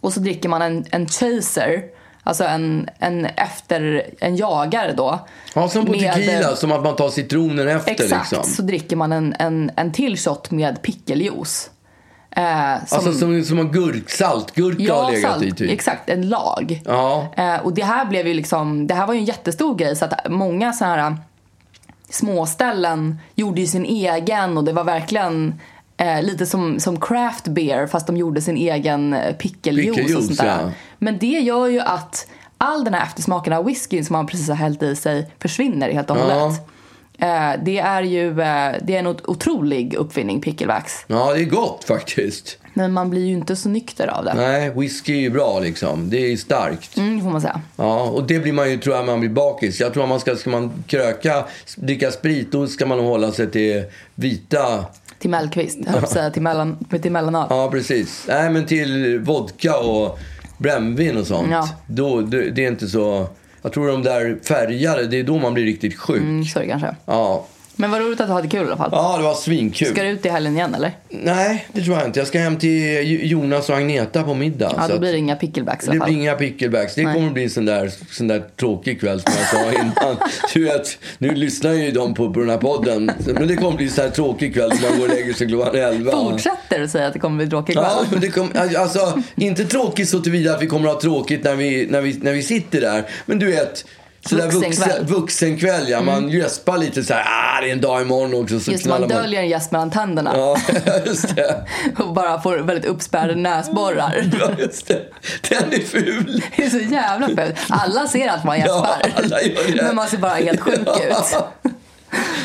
[SPEAKER 2] och så dricker man en, en chaser. Alltså en, en efter, en jagare då.
[SPEAKER 1] Ja, som på
[SPEAKER 2] Med-
[SPEAKER 1] tequila, som att man tar citronen efter
[SPEAKER 2] Exakt,
[SPEAKER 1] liksom.
[SPEAKER 2] så dricker man en, en, en till shot med pickeljuice. Eh, som,
[SPEAKER 1] Alltså som, som en gurk, saltgurka har
[SPEAKER 2] ja,
[SPEAKER 1] legat
[SPEAKER 2] salt,
[SPEAKER 1] i typ.
[SPEAKER 2] exakt, en lag.
[SPEAKER 1] Ja.
[SPEAKER 2] Eh, och det här blev ju liksom, det här var ju en jättestor grej så att många så här eh, småställen gjorde ju sin egen och det var verkligen eh, lite som, som craft beer fast de gjorde sin egen eh, pickeljuice och
[SPEAKER 1] Pickeljuice,
[SPEAKER 2] sånt där.
[SPEAKER 1] ja.
[SPEAKER 2] Men det gör ju att all den här eftersmaken av whiskyn som man precis har hällt i sig försvinner helt och
[SPEAKER 1] Ja.
[SPEAKER 2] hållet. Eh, det är ju eh, det är en ot- otrolig uppfinning, pickelvax.
[SPEAKER 1] ja, det är gott faktiskt.
[SPEAKER 2] Men man blir ju inte så nykter av det.
[SPEAKER 1] Nej, whisky är ju bra liksom. Det är ju starkt.
[SPEAKER 2] Mm, får man säga.
[SPEAKER 1] Ja, och det blir man ju, tror jag, man blir bakis. Jag tror att man ska, ska man kröka, dricka sprit, då ska man nog hålla sig till vita.
[SPEAKER 2] Till Mellqvist, jag höll på att säga, till, mellan, till mellanöl.
[SPEAKER 1] Ja, precis. Nej, men till vodka och brännvin och sånt.
[SPEAKER 2] Ja.
[SPEAKER 1] Då, det, det är inte så... Jag tror de där färgade, det är då man blir riktigt sjuk.
[SPEAKER 2] Mm, så är det Mm, kanske.
[SPEAKER 1] Ja.
[SPEAKER 2] Men vad roligt att du hade kul i alla fall.
[SPEAKER 1] Ja, det var svinkul.
[SPEAKER 2] Ska du ut i helgen igen eller?
[SPEAKER 1] Nej, det tror jag inte. Jag ska hem till Jo- Jonas och Agneta på middag.
[SPEAKER 2] Ja,
[SPEAKER 1] så
[SPEAKER 2] då
[SPEAKER 1] att-
[SPEAKER 2] blir det inga picklebacks i
[SPEAKER 1] Det
[SPEAKER 2] alla
[SPEAKER 1] blir
[SPEAKER 2] fall.
[SPEAKER 1] inga picklebacks. Det kommer bli en sån där, sån där tråkig kväll som jag sa innan. Du vet, nu lyssnar ju de på, på den här podden. Men det kommer bli en sån här tråkig kväll som man går och lägger sig klockan elva.
[SPEAKER 2] Fortsätter att säga att det kommer bli tråkig
[SPEAKER 1] Ja,
[SPEAKER 2] kväll.
[SPEAKER 1] men det kom, alltså, inte tråkigt så tillvida att vi kommer att ha tråkigt när vi, när vi, när vi sitter där. Men du vet, sådär vuxen,
[SPEAKER 2] Vuxenkväll. Mm.
[SPEAKER 1] vuxenkväll. Ja, man gäspar lite så här, ah, det är en dag imorgon också. Så
[SPEAKER 2] Just man
[SPEAKER 1] knallar
[SPEAKER 2] döljer en gäst mellan tänderna
[SPEAKER 1] Ja, just det.
[SPEAKER 2] och bara får väldigt uppspärrade näsborrar.
[SPEAKER 1] Ja, just det. Den är ful.
[SPEAKER 2] Det är så jävla fult. Alla ser att man gäspar.
[SPEAKER 1] Ja, alla gör det.
[SPEAKER 2] Men man ser bara helt sjuk ut.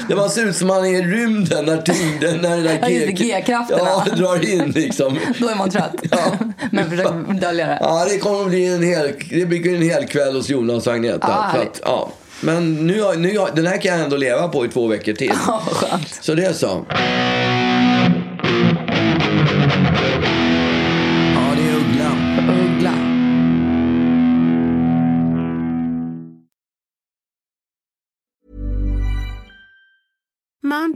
[SPEAKER 1] Det man ser ut som man är i rymden när tyngden, när den där
[SPEAKER 2] Ja, just det,
[SPEAKER 1] G-
[SPEAKER 2] G-krafterna.
[SPEAKER 1] Ja, drar in liksom.
[SPEAKER 2] Då är man trött. Men försöker dölja det.
[SPEAKER 1] Ja, det kommer att bli en hel, det blir en hel kväll hos Jonas och Agneta.
[SPEAKER 2] Ja,
[SPEAKER 1] så
[SPEAKER 2] Ah, härligt.
[SPEAKER 1] att, ja. Men nu, har- nu, har- den här kan jag ändå leva på i två veckor till.
[SPEAKER 2] Ja, vad skönt.
[SPEAKER 1] Så det är så. Ja, det är Uggla.
[SPEAKER 2] Uggla.
[SPEAKER 6] Mom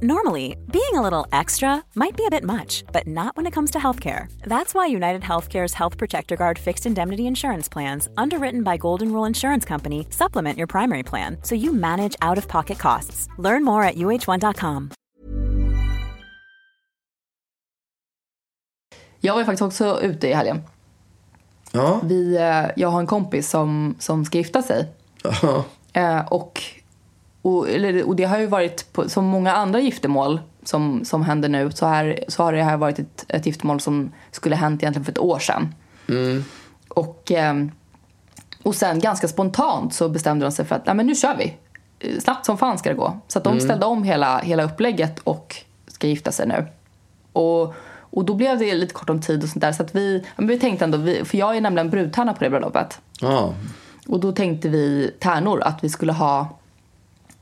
[SPEAKER 4] Normally, being a little extra might be a bit much, but not when it comes to healthcare. That's why United Healthcare's Health Protector Guard fixed indemnity insurance plans, underwritten by Golden Rule Insurance Company, supplement your primary plan so you manage out of pocket costs. Learn more at uh1.com.
[SPEAKER 2] Jag var ju faktiskt också ute i helgen.
[SPEAKER 1] Ja.
[SPEAKER 2] Vi, eh, jag har en kompis som, som ska gifta sig.
[SPEAKER 1] ja.
[SPEAKER 2] Eh, och, och, eller, och det har ju varit, på, som många andra giftermål som, som händer nu, så, här, så har det här varit ett, ett giftermål som skulle hänt egentligen för ett år sedan. Och, ehm, och sen ganska spontant så bestämde de sig för att Nej, men nu kör vi. Eh, Snabbt som fan ska det gå. Så att de ställde om hela, hela upplägget och ska gifta sig nu. Och, och då blev det lite kort om tid och sånt där. Så att vi, ja, men vi tänkte ändå, vi, för jag är nämligen brudtärna på det bröllopet.
[SPEAKER 1] ja.
[SPEAKER 2] Och då tänkte vi tärnor att vi skulle ha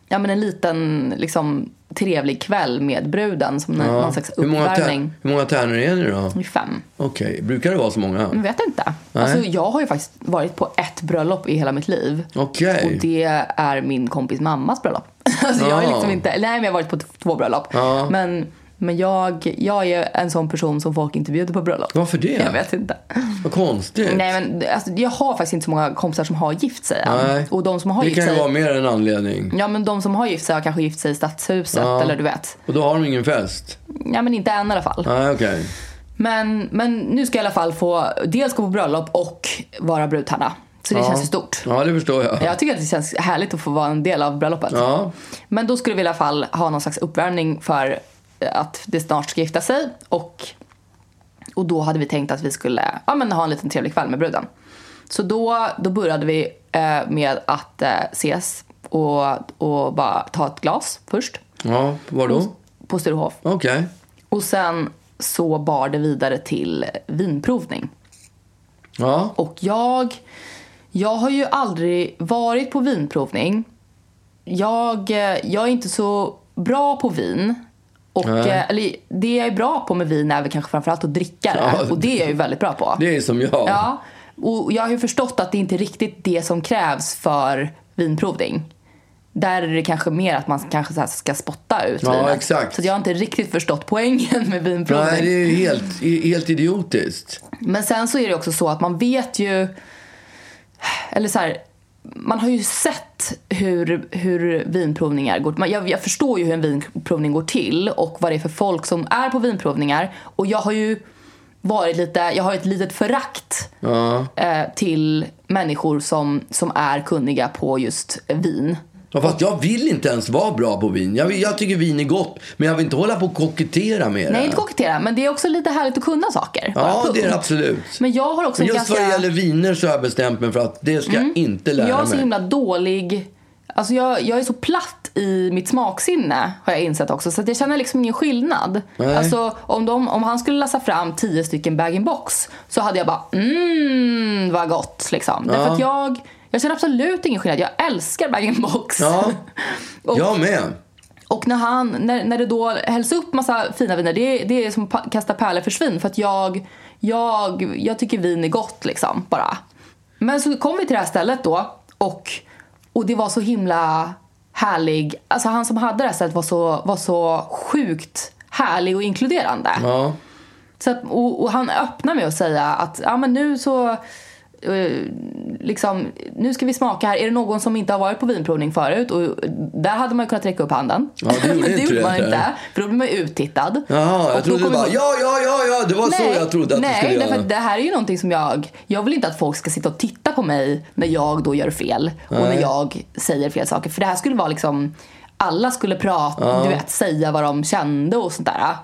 [SPEAKER 2] ja, men en liten liksom, trevlig kväll med bruden som en- någon slags
[SPEAKER 1] Hur många,
[SPEAKER 2] uppvärmning.
[SPEAKER 1] tär, hur många tärnor är det då?
[SPEAKER 2] Vi är Fem.
[SPEAKER 1] Okej, brukar det vara så många?
[SPEAKER 2] Jag vet inte.
[SPEAKER 1] Nej.
[SPEAKER 2] Alltså, jag har ju faktiskt varit på ett bröllop i hela mitt liv.
[SPEAKER 1] Okej.
[SPEAKER 2] Och det är min kompis mammas bröllop. Alltså, jag är
[SPEAKER 1] Ah.
[SPEAKER 2] liksom inte, nej men jag har varit på t- två bröllop.
[SPEAKER 1] Ja.
[SPEAKER 2] Men, men jag, jag är en sån person som folk inte bjuder på bröllop.
[SPEAKER 1] Varför det?
[SPEAKER 2] Jag vet inte.
[SPEAKER 1] Vad konstigt.
[SPEAKER 2] Nej men alltså, jag har faktiskt inte så många kompisar som har gift sig än.
[SPEAKER 1] Nej.
[SPEAKER 2] Och de som har
[SPEAKER 1] det
[SPEAKER 2] gift
[SPEAKER 1] kan ju
[SPEAKER 2] sig
[SPEAKER 1] vara mer än anledning.
[SPEAKER 2] Ja men de som har gift sig har kanske gift sig i stadshuset
[SPEAKER 1] Ja.
[SPEAKER 2] eller du vet.
[SPEAKER 1] Och då har de ingen fest?
[SPEAKER 2] Ja men inte än i alla fall.
[SPEAKER 1] Nej, okej.
[SPEAKER 2] Men, men nu ska jag i alla fall få dels gå på bröllop och vara brudtärna. Så det känns ju stort.
[SPEAKER 1] Ja, det förstår jag.
[SPEAKER 2] Jag tycker att det känns härligt att få vara en del av bröllopet.
[SPEAKER 1] Ja.
[SPEAKER 2] Men då skulle vi i alla fall ha någon slags uppvärmning för eh, att det snart ska gifta sig. Och, och då hade vi tänkt att vi skulle ja, men ha en liten trevlig kväll med bruden. Så då, då började vi eh, med att eh, ses och, och bara ta ett glas först.
[SPEAKER 1] Ja, var då?
[SPEAKER 2] På Sturehof.
[SPEAKER 1] Okej.
[SPEAKER 2] Och sen så bar det vidare till vinprovning.
[SPEAKER 1] Ja.
[SPEAKER 2] Och jag, jag har ju aldrig varit på vinprovning. Jag, eh, jag är inte så bra på vin. Och,
[SPEAKER 1] Nej.
[SPEAKER 2] eh, eller, det jag är bra på med vin är väl kanske framförallt att dricka det.
[SPEAKER 1] Ja,
[SPEAKER 2] och det är jag ju väldigt bra på.
[SPEAKER 1] Det är som jag.
[SPEAKER 2] Ja. Och jag har ju förstått att det inte är riktigt det som krävs för vinprovning. Där är det kanske mer att man kanske så här ska spotta ut
[SPEAKER 1] Ja,
[SPEAKER 2] vinet.
[SPEAKER 1] exakt.
[SPEAKER 2] Så jag har inte riktigt förstått poängen med vinprovning.
[SPEAKER 1] Nej, det är ju helt, i- helt idiotiskt.
[SPEAKER 2] Men sen så är det också så att man vet ju... Eller så här, man har ju sett hur, hur vinprovningar går man- jag, jag förstår ju hur en vinprovning går till och vad det är för folk som är på vinprovningar. Och jag har ju varit lite, jag har ett litet förakt eh, till människor som, som är kunniga på just vin.
[SPEAKER 1] Ja, fast jag vill inte ens vara bra på vin. Jag, vill, jag tycker vin är gott, men jag vill inte hålla på och kokettera med det.
[SPEAKER 2] Nej, inte kokettera, men det är också lite härligt att kunna saker.
[SPEAKER 1] Ja,
[SPEAKER 2] bara,
[SPEAKER 1] det är det
[SPEAKER 2] punkt.
[SPEAKER 1] absolut.
[SPEAKER 2] Men jag har också
[SPEAKER 1] Men
[SPEAKER 2] en
[SPEAKER 1] just
[SPEAKER 2] ganska... Mm.
[SPEAKER 1] vad det gäller viner så har jag bestämt mig för att det ska jag inte lära
[SPEAKER 2] jag har så
[SPEAKER 1] mig.
[SPEAKER 2] himla dålig Alltså jag, jag är så platt i mitt smaksinne har jag insett också så att jag känner liksom ingen skillnad.
[SPEAKER 1] Nej.
[SPEAKER 2] Alltså om, de, om han skulle lassa fram tio stycken bag-in-box så hade jag bara mmm vad gott liksom. Därför att jag, jag känner absolut ingen skillnad. Jag älskar bag-in-box.
[SPEAKER 1] Ja.
[SPEAKER 2] Och-
[SPEAKER 1] Jag med.
[SPEAKER 2] Och när, han, när, när det då hälls upp massa fina viner, det, det är som pa- kasta pärlor för svin. För att jag, jag, jag tycker vin är gott liksom, bara. Men så kom vi till det här stället då och, och det var så himla härlig. Alltså han som hade det här stället var så, var så sjukt härlig och inkluderande.
[SPEAKER 1] Ja.
[SPEAKER 2] Så att, och, och han öppnar med att säga att ja, men nu så eh, liksom, nu ska vi smaka här. Är det någon som inte har varit på vinprovning förut? Och där hade man ju kunnat räcka upp handen.
[SPEAKER 1] Ja, det gjorde
[SPEAKER 2] Men
[SPEAKER 1] inte det.
[SPEAKER 2] man inte. För då blir man ju uttittad.
[SPEAKER 1] Jaha, jag
[SPEAKER 2] Och då
[SPEAKER 1] trodde du
[SPEAKER 2] kommer
[SPEAKER 1] bara,
[SPEAKER 2] man-
[SPEAKER 1] ja, ja, ja, ja, det var så jag trodde att
[SPEAKER 2] nej,
[SPEAKER 1] du skulle
[SPEAKER 2] därför
[SPEAKER 1] göra.
[SPEAKER 2] att det här är ju någonting som jag... Jag vill inte att folk ska sitta och titta på mig när jag då gör fel och när jag säger fel saker. För det här skulle vara liksom... Alla skulle prata, du vet, säga vad de kände och sånt där.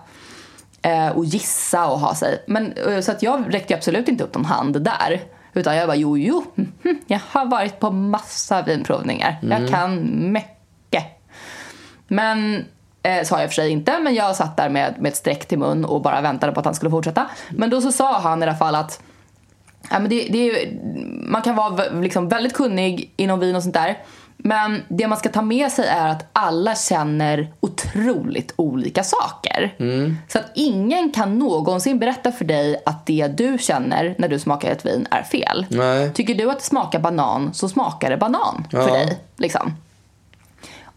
[SPEAKER 2] Eh, och gissa och ha sig. Men, eh, så att jag räckte ju absolut inte upp någon hand där. Utan jag bara, jo, jo, mhm, jag har varit på massa vinprovningar.
[SPEAKER 1] Mm.
[SPEAKER 2] Jag kan mycket. Men eh, sa jag i och för sig inte, men jag satt där med, med ett streck till mun och bara väntade på att han skulle fortsätta. Men då så sa han i alla fall att ja, men det, det är, ju- man kan vara v- liksom väldigt kunnig inom vin och sånt där. Men det man ska ta med sig är att alla känner otroligt olika saker.
[SPEAKER 1] Mm.
[SPEAKER 2] Så att ingen kan någonsin berätta för dig att det du känner när du smakar ett vin är fel.
[SPEAKER 1] Nej.
[SPEAKER 2] Tycker du att det smakar banan så smakar det banan för
[SPEAKER 1] Ja.
[SPEAKER 2] dig. Liksom.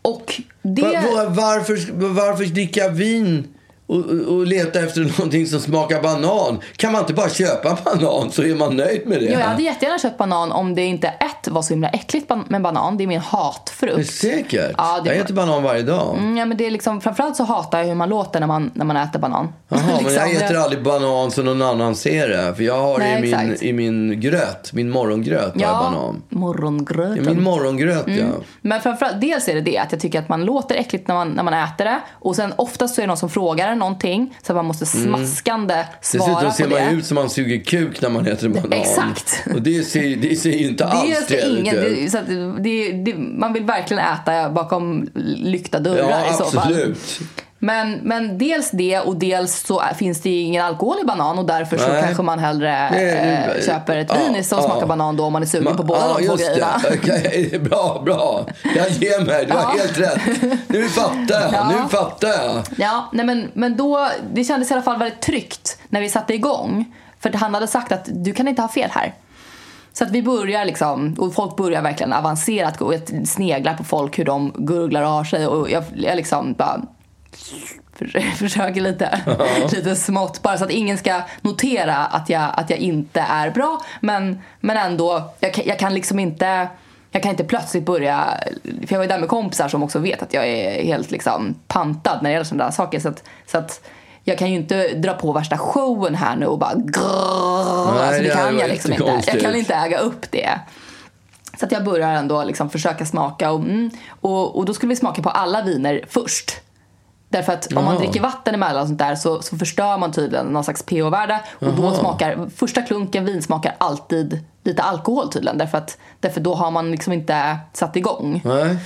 [SPEAKER 2] Och det...
[SPEAKER 1] Va- va- Varför, varför dricka vin och, och och leta efter någonting som smakar banan? Kan man inte bara köpa banan så är man nöjd med det?
[SPEAKER 2] Jo, jag hade jättegärna köpt banan om det inte ett var så himla äckligt ban- med banan. Det är min
[SPEAKER 1] Är du
[SPEAKER 2] hatfrukt.
[SPEAKER 1] säker?
[SPEAKER 2] Ja, det
[SPEAKER 1] jag
[SPEAKER 2] var-
[SPEAKER 1] äter banan varje dag.
[SPEAKER 2] Mm, Ja, men det är liksom, framförallt så hatar jag hur man låter när man, när man äter banan.
[SPEAKER 1] Jaha, men jag
[SPEAKER 2] Liksom,
[SPEAKER 1] äter aldrig banan så någon annan ser det. För jag har
[SPEAKER 2] Nej,
[SPEAKER 1] i, min,
[SPEAKER 2] exakt.
[SPEAKER 1] i min gröt, min morgongröt, har jag
[SPEAKER 2] ja, Mm.
[SPEAKER 1] banan. I
[SPEAKER 2] morgongröten.
[SPEAKER 1] min morgongröt, ja.
[SPEAKER 2] Men framförallt, dels är det det att jag tycker att man låter äckligt när man, när man äter det. Och sen oftast så är det någon som frågar en någonting. Så att man måste smaskande svara
[SPEAKER 1] Mm. Dessutom ser
[SPEAKER 2] på det.
[SPEAKER 1] man ut som man suger kuk när man äter banan.
[SPEAKER 2] Exakt.
[SPEAKER 1] Och det ser, det ser ju inte alls
[SPEAKER 2] det är
[SPEAKER 1] trevligt
[SPEAKER 2] ingen,
[SPEAKER 1] ut.
[SPEAKER 2] det, så att det, det, man vill verkligen äta bakom lyckta dörrar
[SPEAKER 1] Ja,
[SPEAKER 2] i så fall.
[SPEAKER 1] absolut.
[SPEAKER 2] Men, men dels det och dels så är- finns det ingen alkohol i banan och därför så
[SPEAKER 1] Nej.
[SPEAKER 2] kanske man hellre
[SPEAKER 1] Det är-
[SPEAKER 2] eh, köper ett
[SPEAKER 1] ja,
[SPEAKER 2] vin som
[SPEAKER 1] ja.
[SPEAKER 2] smakar banan då om man är sugen på båda
[SPEAKER 1] ja,
[SPEAKER 2] de två
[SPEAKER 1] just det.
[SPEAKER 2] grejerna.
[SPEAKER 1] Okej, det är bra, bra. Jag ger mig. Du har
[SPEAKER 2] Ja.
[SPEAKER 1] helt rätt. Nu fattar jag.
[SPEAKER 2] Ja.
[SPEAKER 1] Nu fattar jag.
[SPEAKER 2] Ja, nej men, men då, det kändes i alla fall väldigt tryggt när vi satte igång. För att han hade sagt att du kan inte ha fel här. Så att vi börjar liksom, och folk börjar verkligen avancerat gå- och jag sneglar på folk hur de gurglar av sig och jag, jag liksom bara för- försöker lite, lite smått bara så att ingen ska notera att jag, att jag inte är bra. Men, men ändå, jag, kan- jag kan liksom inte jag kan inte plötsligt börja, för jag var ju där med kompisar som också vet att jag är helt liksom pantad när det gäller sådana där saker. Så att, så att jag kan ju inte dra på värsta showen här nu och bara grrrr,
[SPEAKER 1] Nej,
[SPEAKER 2] alltså det
[SPEAKER 1] det hade
[SPEAKER 2] kan jag
[SPEAKER 1] varit
[SPEAKER 2] liksom inte. Jag
[SPEAKER 1] konstigt.
[SPEAKER 2] kan inte äga upp det. Så att jag börjar ändå liksom försöka smaka och, mm, och, och då skulle vi smaka på alla viner först. Därför att om man
[SPEAKER 1] Jaha.
[SPEAKER 2] dricker vatten emellan och sånt där så, så förstör man tydligen någon slags pH-värde. Och då smakar, första klunken vin smakar alltid lite alkohol tydligen. Därför att därför då har man liksom inte satt igång.
[SPEAKER 1] Nej.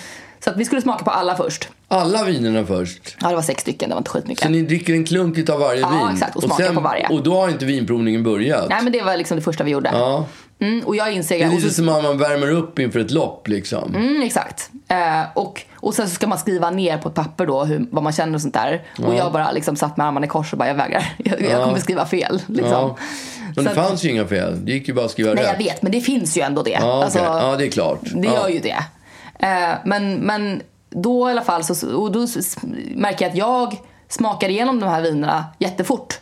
[SPEAKER 2] Så att vi skulle smaka på alla först.
[SPEAKER 1] Alla vinerna först.
[SPEAKER 2] Ja det var sex stycken, det var inte
[SPEAKER 1] Så
[SPEAKER 2] skitmycket.
[SPEAKER 1] ni dricker en klunk av varje
[SPEAKER 2] Ja,
[SPEAKER 1] vin?
[SPEAKER 2] exakt, och smakar på varje.
[SPEAKER 1] Och då har inte vinprovningen börjat?
[SPEAKER 2] Nej men det var liksom det första vi gjorde.
[SPEAKER 1] Ja.
[SPEAKER 2] Mm, och jag insåg...
[SPEAKER 1] Det är
[SPEAKER 2] och så-
[SPEAKER 1] lite som att man värmer upp inför ett lopp liksom.
[SPEAKER 2] Mm, exakt. Eh, och, och sen så ska man skriva ner på ett papper då hur, vad man känner och sånt där. Och jag bara liksom satt med armarna i kors och bara jag vägrar. Jag, jag kommer skriva fel. Liksom.
[SPEAKER 1] Ja. Men
[SPEAKER 2] Så
[SPEAKER 1] det
[SPEAKER 2] att-
[SPEAKER 1] fanns ju inga fel. Det gick ju bara att skriva
[SPEAKER 2] Nej jag
[SPEAKER 1] rätt.
[SPEAKER 2] vet men det finns ju ändå det.
[SPEAKER 1] Ja, okej.
[SPEAKER 2] Alltså,
[SPEAKER 1] ja, det är klart.
[SPEAKER 2] det
[SPEAKER 1] ja.
[SPEAKER 2] gör ju det. Eh, men, men då i alla fall så och då s- märker jag att jag smakar igenom de här vinerna jättefort.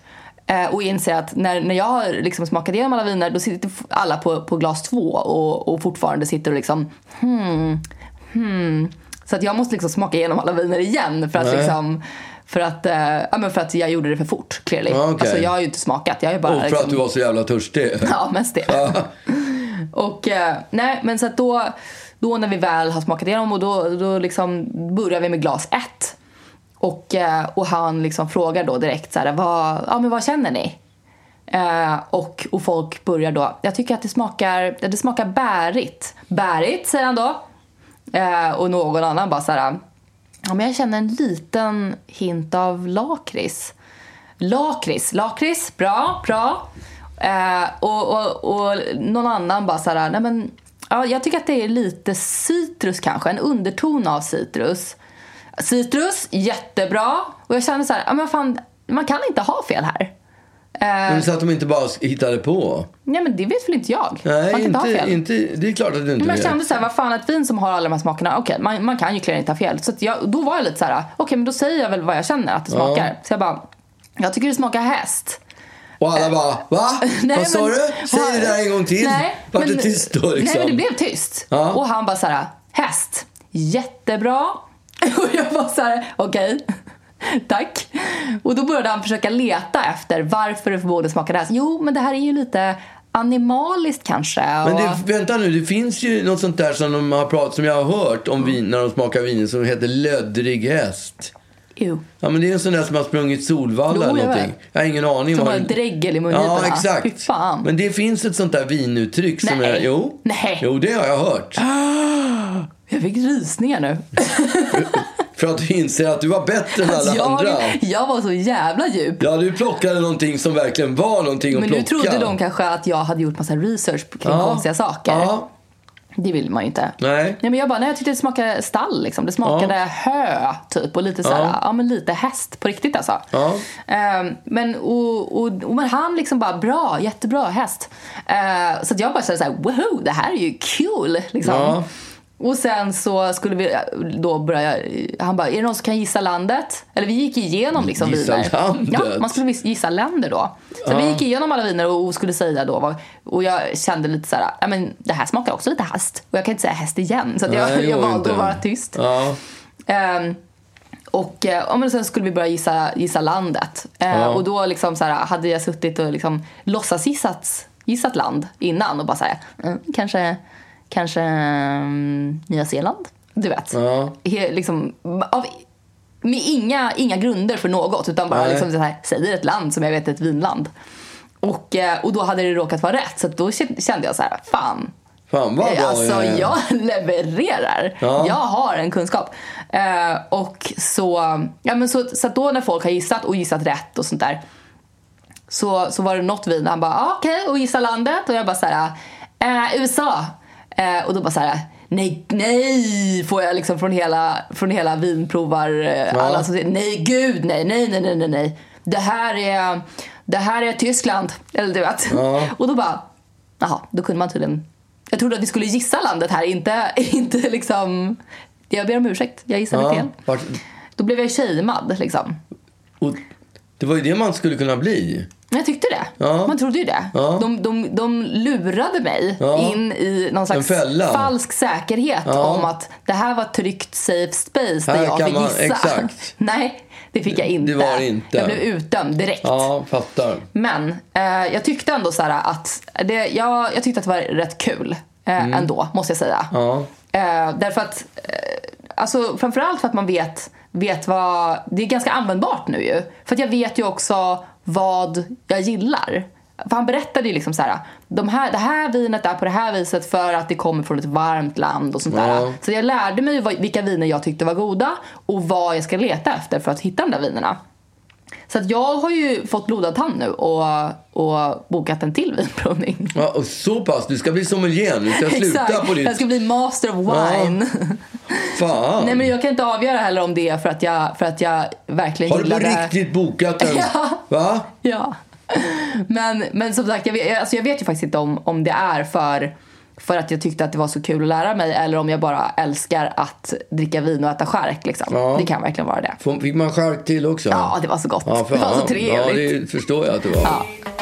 [SPEAKER 2] Eh, och inser att när, när jag har liksom smakat igenom alla viner då sitter f- alla på, på glas två och, och fortfarande sitter och liksom hmm, hmm. Så att jag måste liksom smaka igenom alla viner igen för att liksom för att, eh, ja, men för att jag gjorde det för fort clearly.
[SPEAKER 1] Ja, okej.
[SPEAKER 2] Alltså jag har ju inte smakat. Jag har ju bara
[SPEAKER 1] Och för
[SPEAKER 2] liksom...
[SPEAKER 1] att du var så jävla törstig.
[SPEAKER 2] Ja, mest det. och eh, nej, men så att då, då när vi väl har smakat igenom och då, då liksom börjar vi med glas ett. Och, eh, och han liksom frågar då direkt så här, vad, ja, men vad känner ni? Eh, och, och folk börjar då, jag tycker att det smakar, det smakar bärigt. Bärigt säger han då. Eh, och någon annan bara så här, ja, men jag känner en liten hint av lakrits. Lakrits, lakrits, bra, bra. Eh, och, och, och någon annan bara så här, nej men, ja, jag tycker att det är lite citrus kanske, en underton av citrus. Citrus, jättebra. Och jag känner så här, ja men fan, man kan inte ha fel här. Eh,
[SPEAKER 1] Men så att de inte bara hittade på.
[SPEAKER 2] Nej men det vet väl inte jag. man
[SPEAKER 1] Nej,
[SPEAKER 2] kan inte ha
[SPEAKER 1] inte,
[SPEAKER 2] fel.
[SPEAKER 1] inte, det är klart att du inte
[SPEAKER 2] Men jag
[SPEAKER 1] vet.
[SPEAKER 2] kände såhär, vad fan ett vin som har alla de här smakerna, okej man, man kan ju clearly inte ha fel. Så att jag, då var jag lite såhär, okej men då säger jag väl vad jag känner att det smakar. Så jag bara, jag tycker det smakar häst.
[SPEAKER 1] Och alla bara, va?
[SPEAKER 2] Eh, Nej,
[SPEAKER 1] Vad sa
[SPEAKER 2] men-
[SPEAKER 1] du? Säg det där en gång till.
[SPEAKER 2] Nej,
[SPEAKER 1] Vart
[SPEAKER 2] men-
[SPEAKER 1] det tyst då liksom?
[SPEAKER 2] Nej men det blev tyst.
[SPEAKER 1] Ja.
[SPEAKER 2] Och han bara såhär, häst, jättebra. Och jag bara såhär, okej. Tack. Och då började han försöka leta efter varför det förmodligen smakade häst. Jo, men det här är ju lite animaliskt kanske.
[SPEAKER 1] Men
[SPEAKER 2] och-
[SPEAKER 1] det, vänta nu, det finns ju något sånt där som, de har pratat, som jag har hört om vin, när de smakar viner som heter löddrig häst.
[SPEAKER 2] Jo.
[SPEAKER 1] Ja men det är en sån där som har sprungit Solvalla
[SPEAKER 2] Jo,
[SPEAKER 1] eller
[SPEAKER 2] jag
[SPEAKER 1] någonting.
[SPEAKER 2] vet.
[SPEAKER 1] Jag har ingen aning.
[SPEAKER 2] Som
[SPEAKER 1] vad
[SPEAKER 2] har
[SPEAKER 1] den-
[SPEAKER 2] dregel i mungiporna.
[SPEAKER 1] Ja exakt.
[SPEAKER 2] Fy fan.
[SPEAKER 1] Men det finns ett sånt där vinuttryck som
[SPEAKER 2] Nej.
[SPEAKER 1] jag, jo.
[SPEAKER 2] Nej. Ah.
[SPEAKER 1] Jo det har jag hört.
[SPEAKER 2] Jag fick rysningar nu.
[SPEAKER 1] För att du inser att du var bättre än alla andra.
[SPEAKER 2] Alltså, jag, jag var så jävla djup.
[SPEAKER 1] Ja du plockade någonting som verkligen var någonting att
[SPEAKER 2] Men nu
[SPEAKER 1] plocka.
[SPEAKER 2] trodde de kanske att jag hade gjort massa research kring konstiga saker.
[SPEAKER 1] Ja.
[SPEAKER 2] Det vill man ju inte.
[SPEAKER 1] Nej.
[SPEAKER 2] Nej men jag bara, nej jag tyckte det smakade stall liksom. Det smakade hö typ och lite såhär, ja. men lite häst på riktigt alltså.
[SPEAKER 1] Ja.
[SPEAKER 2] Ehm, men, och, och, och, men han liksom bara, bra, jättebra häst. Ehm, så att jag bara kände såhär, wow det här är ju kul liksom.
[SPEAKER 1] Ja.
[SPEAKER 2] Och sen så skulle vi då börja, han bara, är det någon som kan gissa landet? Eller vi gick igenom liksom
[SPEAKER 1] Gissa
[SPEAKER 2] viner.
[SPEAKER 1] landet?
[SPEAKER 2] Ja, man skulle gissa länder då. Så vi gick igenom alla viner och skulle säga då, vad- och jag kände lite så här, ja men det här smakar också lite häst. Och jag kan inte säga häst igen, så att jag,
[SPEAKER 1] Nej, det
[SPEAKER 2] jag
[SPEAKER 1] går
[SPEAKER 2] valde
[SPEAKER 1] inte.
[SPEAKER 2] att vara tyst.
[SPEAKER 1] Ja.
[SPEAKER 2] Ehm, och eh, ja, men sen skulle vi börja gissa, gissa landet. Eh, Och då liksom så här, hade jag suttit och liksom låtsasgissat gissat land innan och bara såhär, mm, kanske, kanske mm, Nya Zeeland? Du vet.
[SPEAKER 1] Ja.
[SPEAKER 2] He, liksom, av, med inga, inga grunder för något utan bara
[SPEAKER 1] Nej.
[SPEAKER 2] liksom så här, säger ett land som jag vet är ett vinland. Och, eh, och då hade det råkat vara rätt så att då kä- kände jag så här, fan
[SPEAKER 1] Fan vad bra
[SPEAKER 2] Alltså
[SPEAKER 1] är.
[SPEAKER 2] jag levererar.
[SPEAKER 1] Ja.
[SPEAKER 2] Jag har en kunskap. Eh, och så, ja, men så, så att då när folk har gissat och gissat rätt och sånt där. Så, så var det något vin, han bara ah, okej och gissa landet och jag bara såhär, eh, USA. Eh, och då bara såhär, nej, nej får jag liksom från hela, från hela vinprovar, eh, alla som säger nej gud nej, nej, nej, nej, nej, nej. Det här är, det här är Tyskland, eller du vet. Och då bara, jaha, då kunde man tydligen jag trodde att vi skulle gissa landet här, inte, inte liksom... Jag ber om ursäkt, jag gissade fel.
[SPEAKER 1] ja. Vart,
[SPEAKER 2] Då blev jag shamead liksom.
[SPEAKER 1] och, det var ju det man skulle kunna bli.
[SPEAKER 2] Men jag tyckte det.
[SPEAKER 1] Ja.
[SPEAKER 2] Man trodde ju det.
[SPEAKER 1] Ja.
[SPEAKER 2] De, de, de lurade mig
[SPEAKER 1] Ja.
[SPEAKER 2] in i någon slags
[SPEAKER 1] En fälla.
[SPEAKER 2] falsk säkerhet
[SPEAKER 1] Ja.
[SPEAKER 2] om att det här var ett tryggt safe space där
[SPEAKER 1] Här
[SPEAKER 2] jag
[SPEAKER 1] kan
[SPEAKER 2] fick
[SPEAKER 1] man-
[SPEAKER 2] gissa.
[SPEAKER 1] exakt.
[SPEAKER 2] Nej, det fick jag inte.
[SPEAKER 1] det var det inte.
[SPEAKER 2] Jag blev utdömd direkt.
[SPEAKER 1] Ja, fattar.
[SPEAKER 2] Men eh, jag tyckte ändå så här att det, jag, jag tyckte att det var rätt kul eh, ändå, måste jag säga.
[SPEAKER 1] Mm. Ja.
[SPEAKER 2] Eh, därför att, eh, alltså framförallt för att man vet, vet vad, det är ganska användbart nu ju. För att jag vet ju också vad jag gillar. För han berättade ju liksom så här, de här, det här vinet är på det här viset för att det kommer från ett varmt land och sånt där.
[SPEAKER 1] Ja.
[SPEAKER 2] Så jag lärde mig vad, vilka viner jag tyckte var goda och vad jag ska leta efter för att hitta de där vinerna. Så att jag har ju fått blodad tand nu och, och bokat en till vinprovning.
[SPEAKER 1] Ja, och så pass, du ska bli sommelier. Du ska sluta
[SPEAKER 2] Exakt.
[SPEAKER 1] på ditt...
[SPEAKER 2] Jag ska bli master of wine.
[SPEAKER 1] Fan.
[SPEAKER 2] Nej men jag kan inte avgöra heller om det är för att jag, för att jag verkligen
[SPEAKER 1] Har du på
[SPEAKER 2] gillar det.
[SPEAKER 1] riktigt bokat en...
[SPEAKER 2] Ja.
[SPEAKER 1] Va?
[SPEAKER 2] Ja. Men, men som sagt, jag vet, alltså jag vet ju faktiskt inte om, om det är för, för att jag tyckte att det var så kul att lära mig eller om jag bara älskar att dricka vin och äta skärk liksom.
[SPEAKER 1] Ja.
[SPEAKER 2] Det kan verkligen vara det.
[SPEAKER 1] Får- Fick man skärk till också?
[SPEAKER 2] Ja, det var så gott.
[SPEAKER 1] Ja,
[SPEAKER 2] det var så
[SPEAKER 1] Ja,
[SPEAKER 2] trevligt.
[SPEAKER 1] det förstår jag att det var.
[SPEAKER 2] Ja.